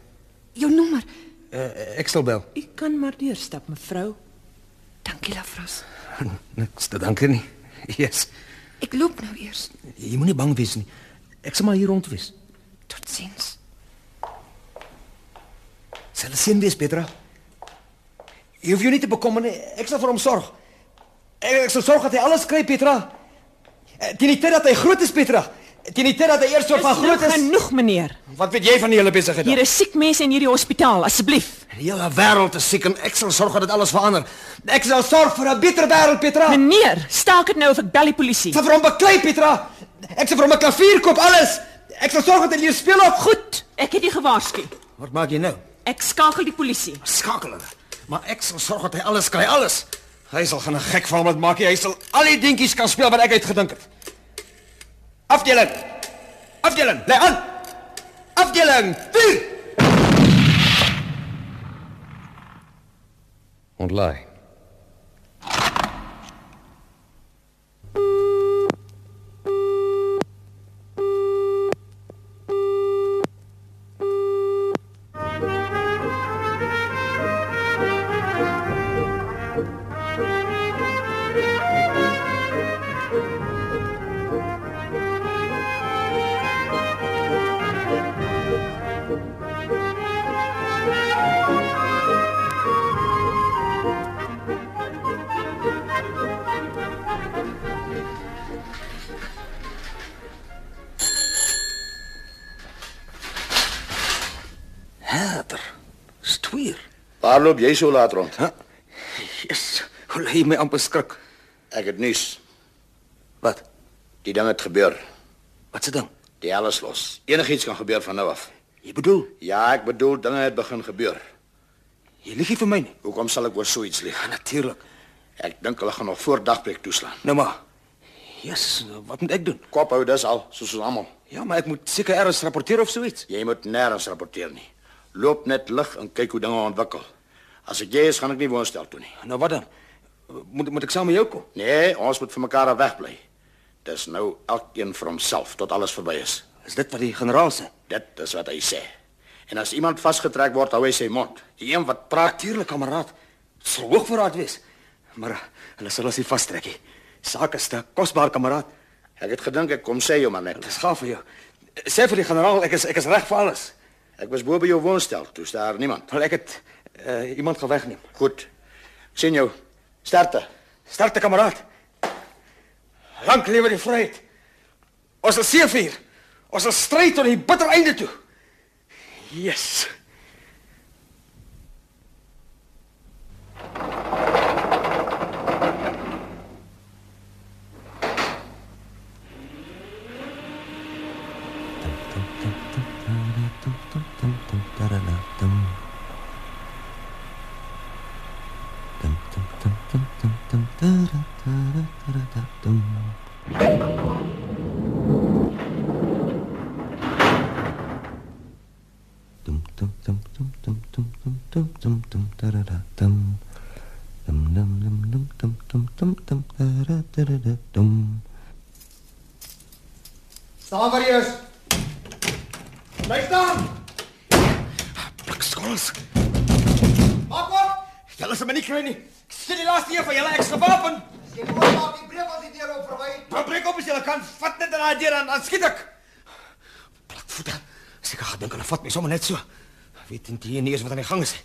Speaker 9: Jou nommer.
Speaker 6: Uh, ek sal bel.
Speaker 18: U kan maar deurstap mevrou.
Speaker 9: Dankie Lafras.
Speaker 6: Niks te dankie nie. Yes.
Speaker 9: Ek loop nou eers.
Speaker 6: Jy moenie bang wees nie. Ek sal maar hier rond wees.
Speaker 9: Totsiens.
Speaker 2: Sal dit sien wees, Petra? Jy hoef jou nie te bekommer nie. Ek sal vir hom sorg. Ek, ek sal sorg dat hy alles kry, Petra. Eh, Teen die tyd dat hy groot is, Petra. Teen die tyd dat hy eers so
Speaker 18: Is
Speaker 2: van
Speaker 18: nou
Speaker 2: groot is.
Speaker 18: genoeg meneer.
Speaker 2: Wat weet jy van die hele besigheid?
Speaker 18: Hier is siek mense in hierdie hospitaal, asseblief.
Speaker 6: Die hele wêreld is siek en ek sal sorg dat dit alles verander.
Speaker 2: Ek sal sorg vir 'n beter wêreld, Petra.
Speaker 18: Meneer, staak dit nou of ek bel die polisie.
Speaker 2: Ek sal vir hom beklei, Petra. Ek sal vir hom 'n klavier koop, alles. Ek sal sorg dat hy leer speel op
Speaker 18: goed. Ek het u gewaarsku.
Speaker 6: Wat maak jy nou?
Speaker 18: Ek skakel die polisie.
Speaker 6: Skakel hulle. Maar ek sal sorg dat hy alles kry, alles.
Speaker 2: Hy sal gaan 'n gek van hom laat maak. nie. Hy sal al die dingetjies kan speel wat ek uitgedink het. Afdeling. Afdeling. Lê aan. Afdeling. Vuur.
Speaker 6: Ontlaai.
Speaker 4: Waar loop jy so laat rond? Huh?
Speaker 11: Jesus, hoe lê jy my amper skrik.
Speaker 4: Ek het nuus.
Speaker 11: Wat?
Speaker 4: Die ding het gebeur.
Speaker 11: Wat se ding?
Speaker 4: Die hel is los. Enigiets kan gebeur van nou af.
Speaker 11: Jy bedoel?
Speaker 4: Ja, ek bedoel dinge het begin gebeur.
Speaker 11: Jy lieg nie vir my nie.
Speaker 4: Hoekom sal ek oor so iets lieg?
Speaker 11: Natuurlik.
Speaker 4: Ek dink hulle gaan nog voor dagbreek toeslaan.
Speaker 11: Nou maar. Jesus, wat moet ek doen?
Speaker 4: Kop hou dis al, soos ons almal.
Speaker 11: Ja, maar ek moet seker ergens rapporteer of so iets.
Speaker 4: Jy moet nêrens rapporteer nie. Loop net lig en kyk hoe dinge ontwikkel. As ek jy is, gaan ek nie woonstel toe nie.
Speaker 11: Nou wat dan? Moet moet ek saam met jou kom?
Speaker 4: Nee, ons moet van mekaar af wegbly. Dis nou elkeen vir homself tot alles verby is.
Speaker 11: Is dit wat die generaal sê?
Speaker 4: Dit is wat hy sê. En as iemand vasgetrek word, hou hy sy mond. Die een wat praat,
Speaker 11: natuurlik, kameraad, sal hoogverraad wees. Maar eh, hulle sal ons nie vastrek nie. Saak is te kosbaar, kameraad.
Speaker 4: Ek het gedink ek kom sê jou maar net.
Speaker 11: Dis gaaf vir jou. Sê vir die generaal ek is ek is reg vir alles.
Speaker 4: Ek was bo by jou woonstel, toe staar niemand.
Speaker 11: Wel ek het uh, iemand gaan wegneem.
Speaker 4: Goed. Ek sien jou. Starte.
Speaker 11: Starte kameraad. Lank lewe die vryheid. Ons sal seëvier. Ons sal stry tot die bitter einde toe. Yes.
Speaker 2: Staan waar jy is. Bly staan.
Speaker 11: Blikskors.
Speaker 2: Maak op.
Speaker 11: Julle sal my nie kry nie.
Speaker 2: Ek sien die laaste een van julle ek's gewapen.
Speaker 11: As jy moet maak, die breek al die deur op verby.
Speaker 2: Dan breek op as julle kan. Vat net aan daai deur en dan skiet ek.
Speaker 11: Plakvoete. Seker gedink hulle vat my sommer net so. Weet net hier nie eens wat aan die gang is nie.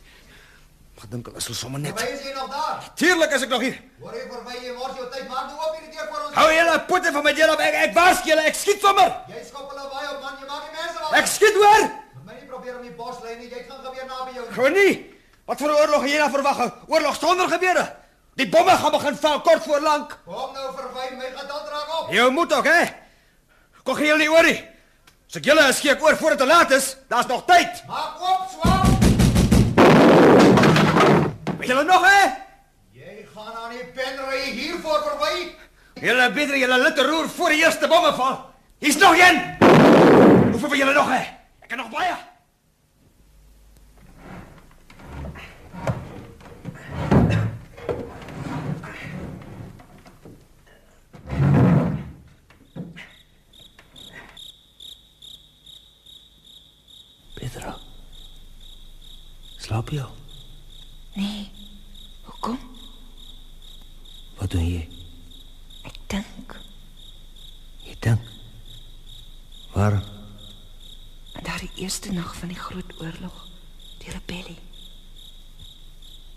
Speaker 11: Gedink hulle sal sommer net.
Speaker 8: Verby is jy nog daar?
Speaker 2: Tuurlik is ek nog hier.
Speaker 8: Hoor jy verby, jy mors jou tyd, maak nou oop hierdie deur vir ons.
Speaker 2: Hou julle potte van my deur af. Ek ek waarsku julle, ek skiet sommer.
Speaker 8: Jy skop hulle baie op man, jy maak die mense
Speaker 2: Ek skiet hoor.
Speaker 8: Moet my nie probeer om die bos lê nie, jy gaan gebeur naby jou.
Speaker 2: Gou nie. Wat vir 'n oorlog het jy nou verwag? 'n Oorlog sonder gebeure. Die bomme gaan begin val kort voor lank.
Speaker 8: Kom nou verby, my geduld raak op.
Speaker 2: Jy moet ook hè. Kom gee julle nie oor nie. As ek julle skiek oor voor dit te laat is, daar's nog tyd.
Speaker 8: Maak oop, swaap.
Speaker 2: Weet julle nog hè?
Speaker 8: Jy gaan aan die pen ry hier voor verby.
Speaker 2: Julle beter julle litte roer voor die eerste bomme val. Hier's nog een. Hoeveel van julle nog hè? Ek het nog baie.
Speaker 11: Pedro. Slaap jy? al?
Speaker 9: Nee. Hoekom?
Speaker 11: Wat doen jy?
Speaker 9: Ek dink
Speaker 11: Jy dink. Waarom?
Speaker 9: aan daardie eerste nag van die groot oorlog, die rebellie.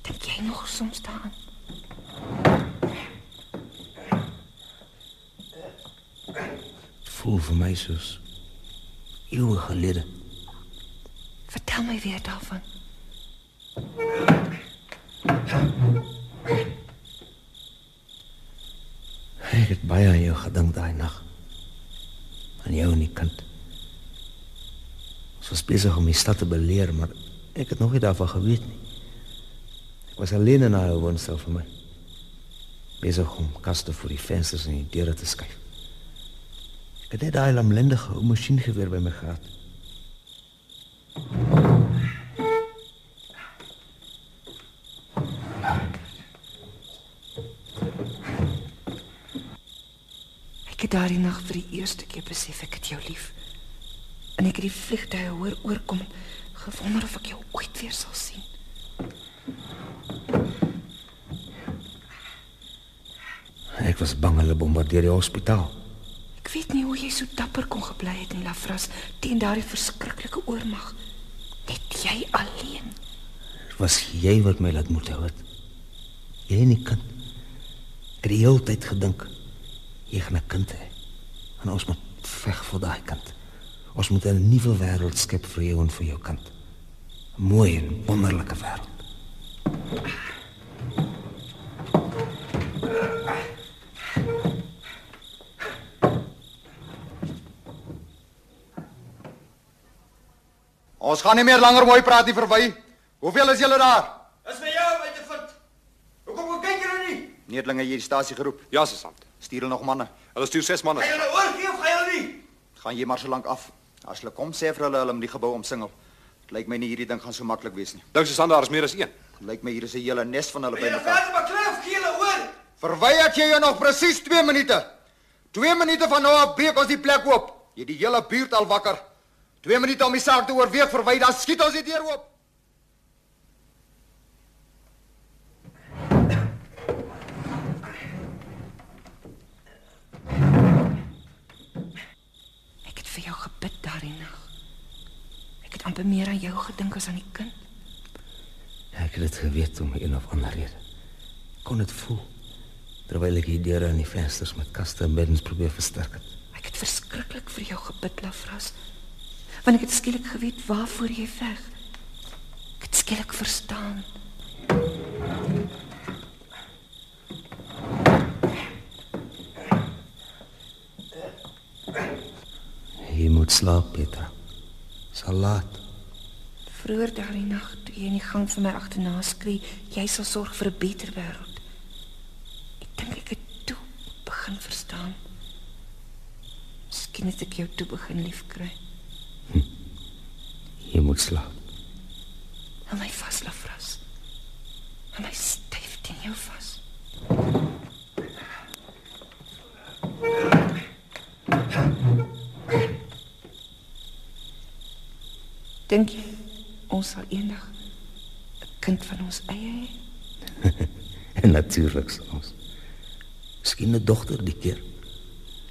Speaker 9: Dink jy nog soms daaraan?
Speaker 11: Voel vir my soos eeue gelede.
Speaker 9: Vertel my weer daarvan.
Speaker 11: Ek het baie aan jou gedink daai nag. Aan jou en die kind. Ons was besig om die stad te beleer, maar ek het nog nie daarvan geweet nie. Ek was alleen in daai woonstel vir my. Besig om kaste vir die vensters en die deure te skuif. Ek het net daai lamlendige ou masjiengeweer by my gehad.
Speaker 9: Ek het daardie nag vir die eerste keer besef ek het jou lief. En ek het die vliegtye hoor oorkom, gewonder of ek jou ooit weer sal sien.
Speaker 11: Ek was bang hulle bombardeer die hospitaal.
Speaker 9: Ek weet nie hoe jy so dapper kon gebly het in Lafras teen daardie verskriklike oormag. Net jy alleen.
Speaker 11: Dit was jy wat my laat moet hou het. Jy en die kind. Ek het die hele tyd gedink jy gaan 'n kind hê. En ons moet veg vir daai kind. Ons moet 'n nuwe wêreld skep vir jou en vir jou kind. 'n Mooi en wonderlike wêreld.
Speaker 19: Ons gaan nie meer langer mooi praat nie, verwy. Hoeveel is julle daar?
Speaker 14: Is my jou uit te vind. Hoekom kom kyk julle nie?
Speaker 19: Neerlinge hier die stasie geroep. Ja, sergeant. Stuur hulle nog manne. Hulle stuur 6 manne.
Speaker 14: Gaan julle oorgee of gaan julle nie?
Speaker 19: Gaan jy maar so lank af. As hulle kom sê vir hulle hulle moet die gebou omsingel. Dit lyk my nie hierdie ding gaan so maklik wees nie. Dink Susan daar is meer as een. Lyk my hier is 'n hele nes van hulle
Speaker 14: Julle
Speaker 19: bymekaar.
Speaker 14: verder maar klef gee julle oor.
Speaker 19: Verwy ek jou nog presies 2 minute. 2 minute van nou af breek ons die plek oop. Jy het die hele buurt al wakker. 2 minute om die saak te oorweeg, verwy dan skiet ons die deur oop.
Speaker 9: Ek het vir jou gebid daardie nag. Ek het amper meer aan jou gedink as aan die kind.
Speaker 11: Ek het dit geweet om een of ander rede. Ek Kon dit voel terwyl ek die deure en die vensters met kaste en beddens probeer versterk het.
Speaker 9: Ek het verskriklik vir jou gebid, Lafras. Want ek het skielik geweet waarvoor jy veg. Ek het skielik verstaan.
Speaker 11: Jy moet slaap, Petra. Sal laat.
Speaker 9: Vroeër daardie nag toe jy in die gang vir my agterna skree, jy sal sorg vir 'n beter wêreld. Ek dink ek het toe begin verstaan. Miskien het ek jou toe begin liefkry.
Speaker 11: Jy moet slaap.
Speaker 9: Hou my vas, Lafras. Hou my styf teen jou vas. Dink jy ons sal eendag 'n kind van ons eie hê?
Speaker 11: En natuurlik sal ons. Miskien 'n dogter die keer.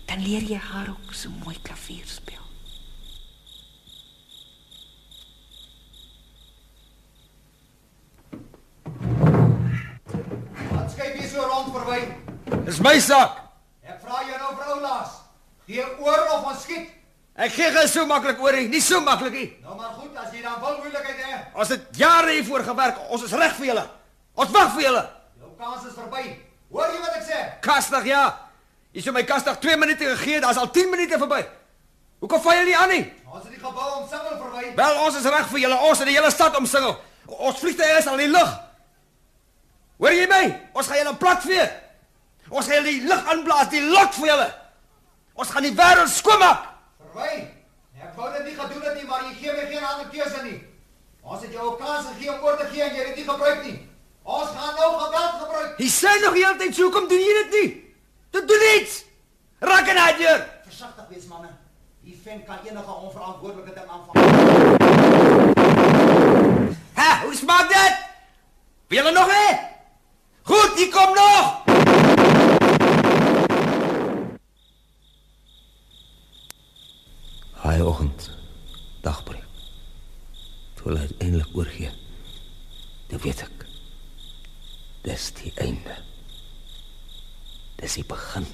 Speaker 9: Dan leer jy haar ook so mooi klavier speel.
Speaker 19: Wat skei jy so rond verwy?
Speaker 2: Dis my saak.
Speaker 19: Ek vra jou nou vrou laas. Gee oor of ons skiet.
Speaker 2: Ek gee geen so maklik oor nie, nie so maklik nie.
Speaker 19: Nou maar goed, as jy dan wil moeilikheid hê.
Speaker 2: Ons het jare hiervoor gewerk. Ons is reg vir julle. Ons wag vir julle.
Speaker 19: Jou Nou kans is verby. Hoor jy wat ek sê?
Speaker 2: Kastig ja. Jy sou my kastig 2 minute gegee, daar's al 10 minute verby. Hoekom val jy nie aan nie?
Speaker 19: Ons het die gebou omsingel verby.
Speaker 2: Wel, ons is reg vir julle. Ons het die hele stad omsingel. Ons vliegtuie is al in die lug. Hoor jy my? Ons gaan julle platvee. Ons gaan julle die lug aanblaas, die lot vir julle. Ons gaan die wêreld skoonmaak.
Speaker 19: Verby. Nee, Ek wou dit nie gedoen het nie, maar jy gee my geen ander keuse nie. Ons het jou 'n kans gegee om oor te gee en jy het dit nie gebruik nie. Ons gaan nou geweld gebruik.
Speaker 2: Hy sê nog die hele tyd, so, "Hoekom doen jy dit nie?" Dit doen iets. Raak aan daai deur.
Speaker 19: Versigtig wees manne. Die vent kan enige onverantwoordelike ding aanvang.
Speaker 2: Hæ, hoe smaak dit? Wil julle nog hê? Goed, hier kom nog.
Speaker 11: Haai oggend dagbreek. Toe hulle uiteindelik oorgee. Dit weet ek. Dis die einde. Dis die begin.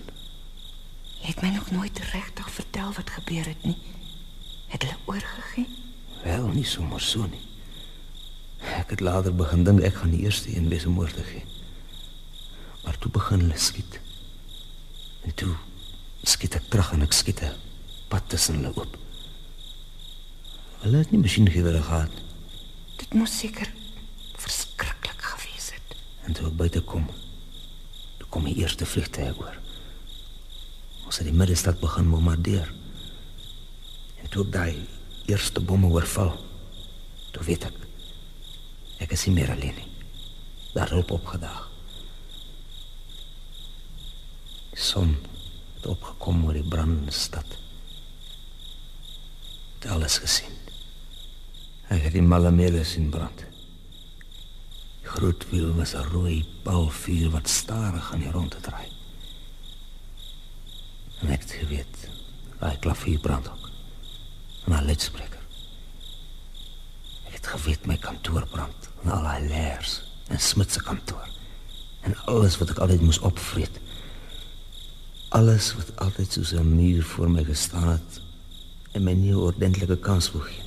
Speaker 9: Jy het my nog nooit regtig vertel wat gebeur het nie. Het hulle oorgegee?
Speaker 11: Wel nie sommer so nie. Ek het later begin dink ek gaan die eerste een wees om oor te gee. Maar toe begin hulle skiet. En toe skiet ek terug en ek skiet 'n pad tussen hulle oop. Hulle het nie masjiengeweer gehad
Speaker 9: Dit moes seker verskriklik gewees het.
Speaker 11: en toe ek buite kom, toe kom die eerste vliegtuig oor. Ons het die middestad begin bombardeer. En toe ek daai eerste bomme oorval, toe weet ek ek is nie meer alleen nie. Daar hulp opgedaag. Die son het opgekom oor die brandende stad. Ek het alles gesien. Ek het die malamele sien brand. Die groot wiel was 'n rooi paalvuur wat stadig aan die rondte draai. En ek het geweet, daai klavier brand ook. En haar luidspreker. Ek het geweet my kantoor brand, en al haar leers, en Smit se kantoor. En alles wat ek altyd moes opvreet. Alles wat altyd soos 'n muur voor my gestaan het en my nie 'n ordentlike kans wou gee.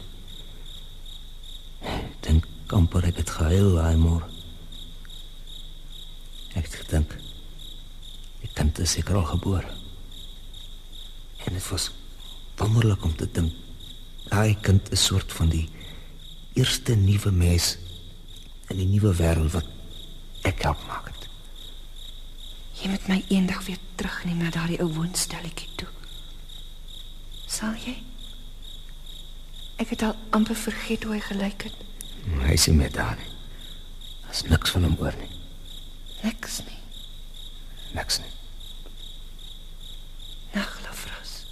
Speaker 11: Ek Dink amper ek het gehuil daai môre. Ek het gedink die kind is seker al gebore. En dit was wonderlik om te dink daai kind is soort van die eerste nuwe mens in die nuwe wêreld wat ek help maak. het.
Speaker 9: Jy moet my eendag weer terugneem na daardie ou woonstelletjie toe. Sal jy? Ek het al amper vergeet hoe hy gelyk het.
Speaker 11: Hy sê met haar. Daar's niks van hom oor nie.
Speaker 9: Niks nie.
Speaker 11: Niks nie.
Speaker 9: Nag, Lafras.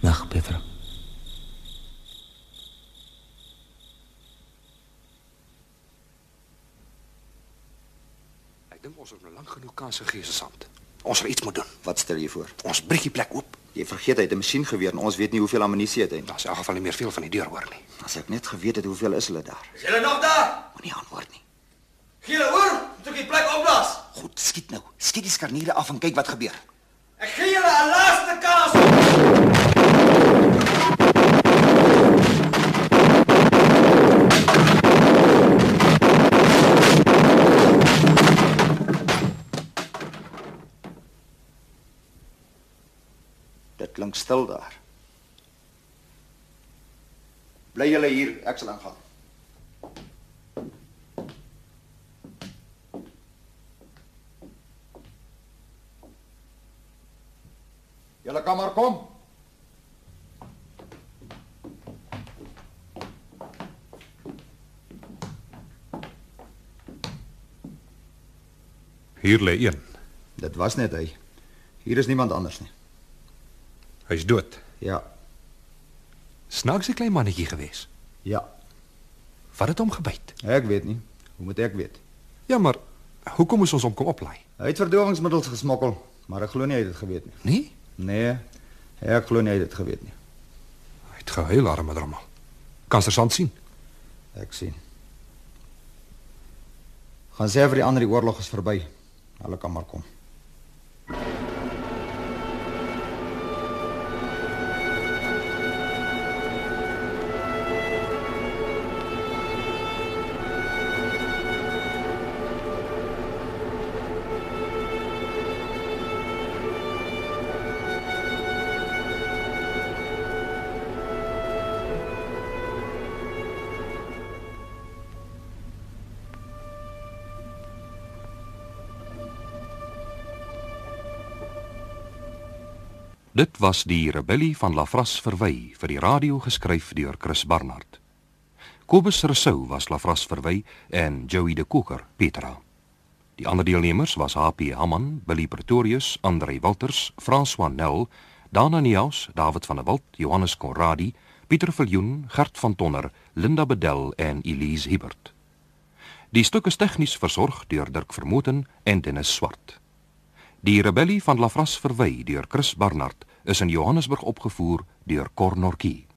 Speaker 11: Nag, Petra.
Speaker 4: Ek dink ons het nou lank genoeg kanse gegee se sand. Ons sal iets moet doen. Wat stel jy voor? Ons breek die plek oop.
Speaker 20: Jy vergeet hy het 'n masjiengeweer en ons weet nie hoeveel ammunisie het hy nie.
Speaker 4: Daar's in elk geval nie meer veel van die deur hoor nie.
Speaker 20: As ek net geweet het hoeveel is hulle daar.
Speaker 2: Is julle nog daar? Moenie antwoord nie. Gee hoor, moet ek die plek opblaas.
Speaker 20: Goed, skiet nou. Skiet die skarniere af en kyk wat gebeur.
Speaker 2: Ek gee julle 'n laaste kans.
Speaker 20: Dit klink stil daar.
Speaker 19: Bly julle hier, ek sal ingaan. Julle kan maar kom.
Speaker 3: Hier lê een.
Speaker 19: Dit was net hy. Hier is niemand anders nie.
Speaker 3: Hy's dood.
Speaker 19: Ja.
Speaker 3: Snaakse klein mannetjie gewees.
Speaker 19: Ja.
Speaker 3: Wat het hom gebyt?
Speaker 19: Ek weet nie. Hoe moet ek weet?
Speaker 3: Ja, maar hoekom moes ons hom kom oplaai?
Speaker 19: Hy het verdowingsmiddels gesmokkel, maar ek glo nie hy het dit geweet nie.
Speaker 3: Nee?
Speaker 19: Nee. Ek glo nie hy het dit geweet nie.
Speaker 3: Hy het gehuil arme drommel. Kan sergeant sien?
Speaker 19: Ek sien. Gaan sê vir die ander die oorlog is verby. Hulle kan maar kom.
Speaker 21: Dit was die Rebellie van Lafras Verwy vir die radio geskryf deur Chris Barnard. Kobus Rousseau was Lafras Verwy en Joey de Koker Petra. Die ander deelnemers was HP Hamman, Billy Pretorius, Andrei Walters, François Nel, Dana Neus, David van der Walt, Johannes Conradi, Pieter Viljoen, Gert van Tonner, Linda Bedel en Elise Hibbert. Die stuk is tegnies versorg deur Dirk Vermooten en Dennis Swart. Die rebellie van Lafras Verwy deur Chris Barnard is in Johannesburg opgevoer deur Cornorkie.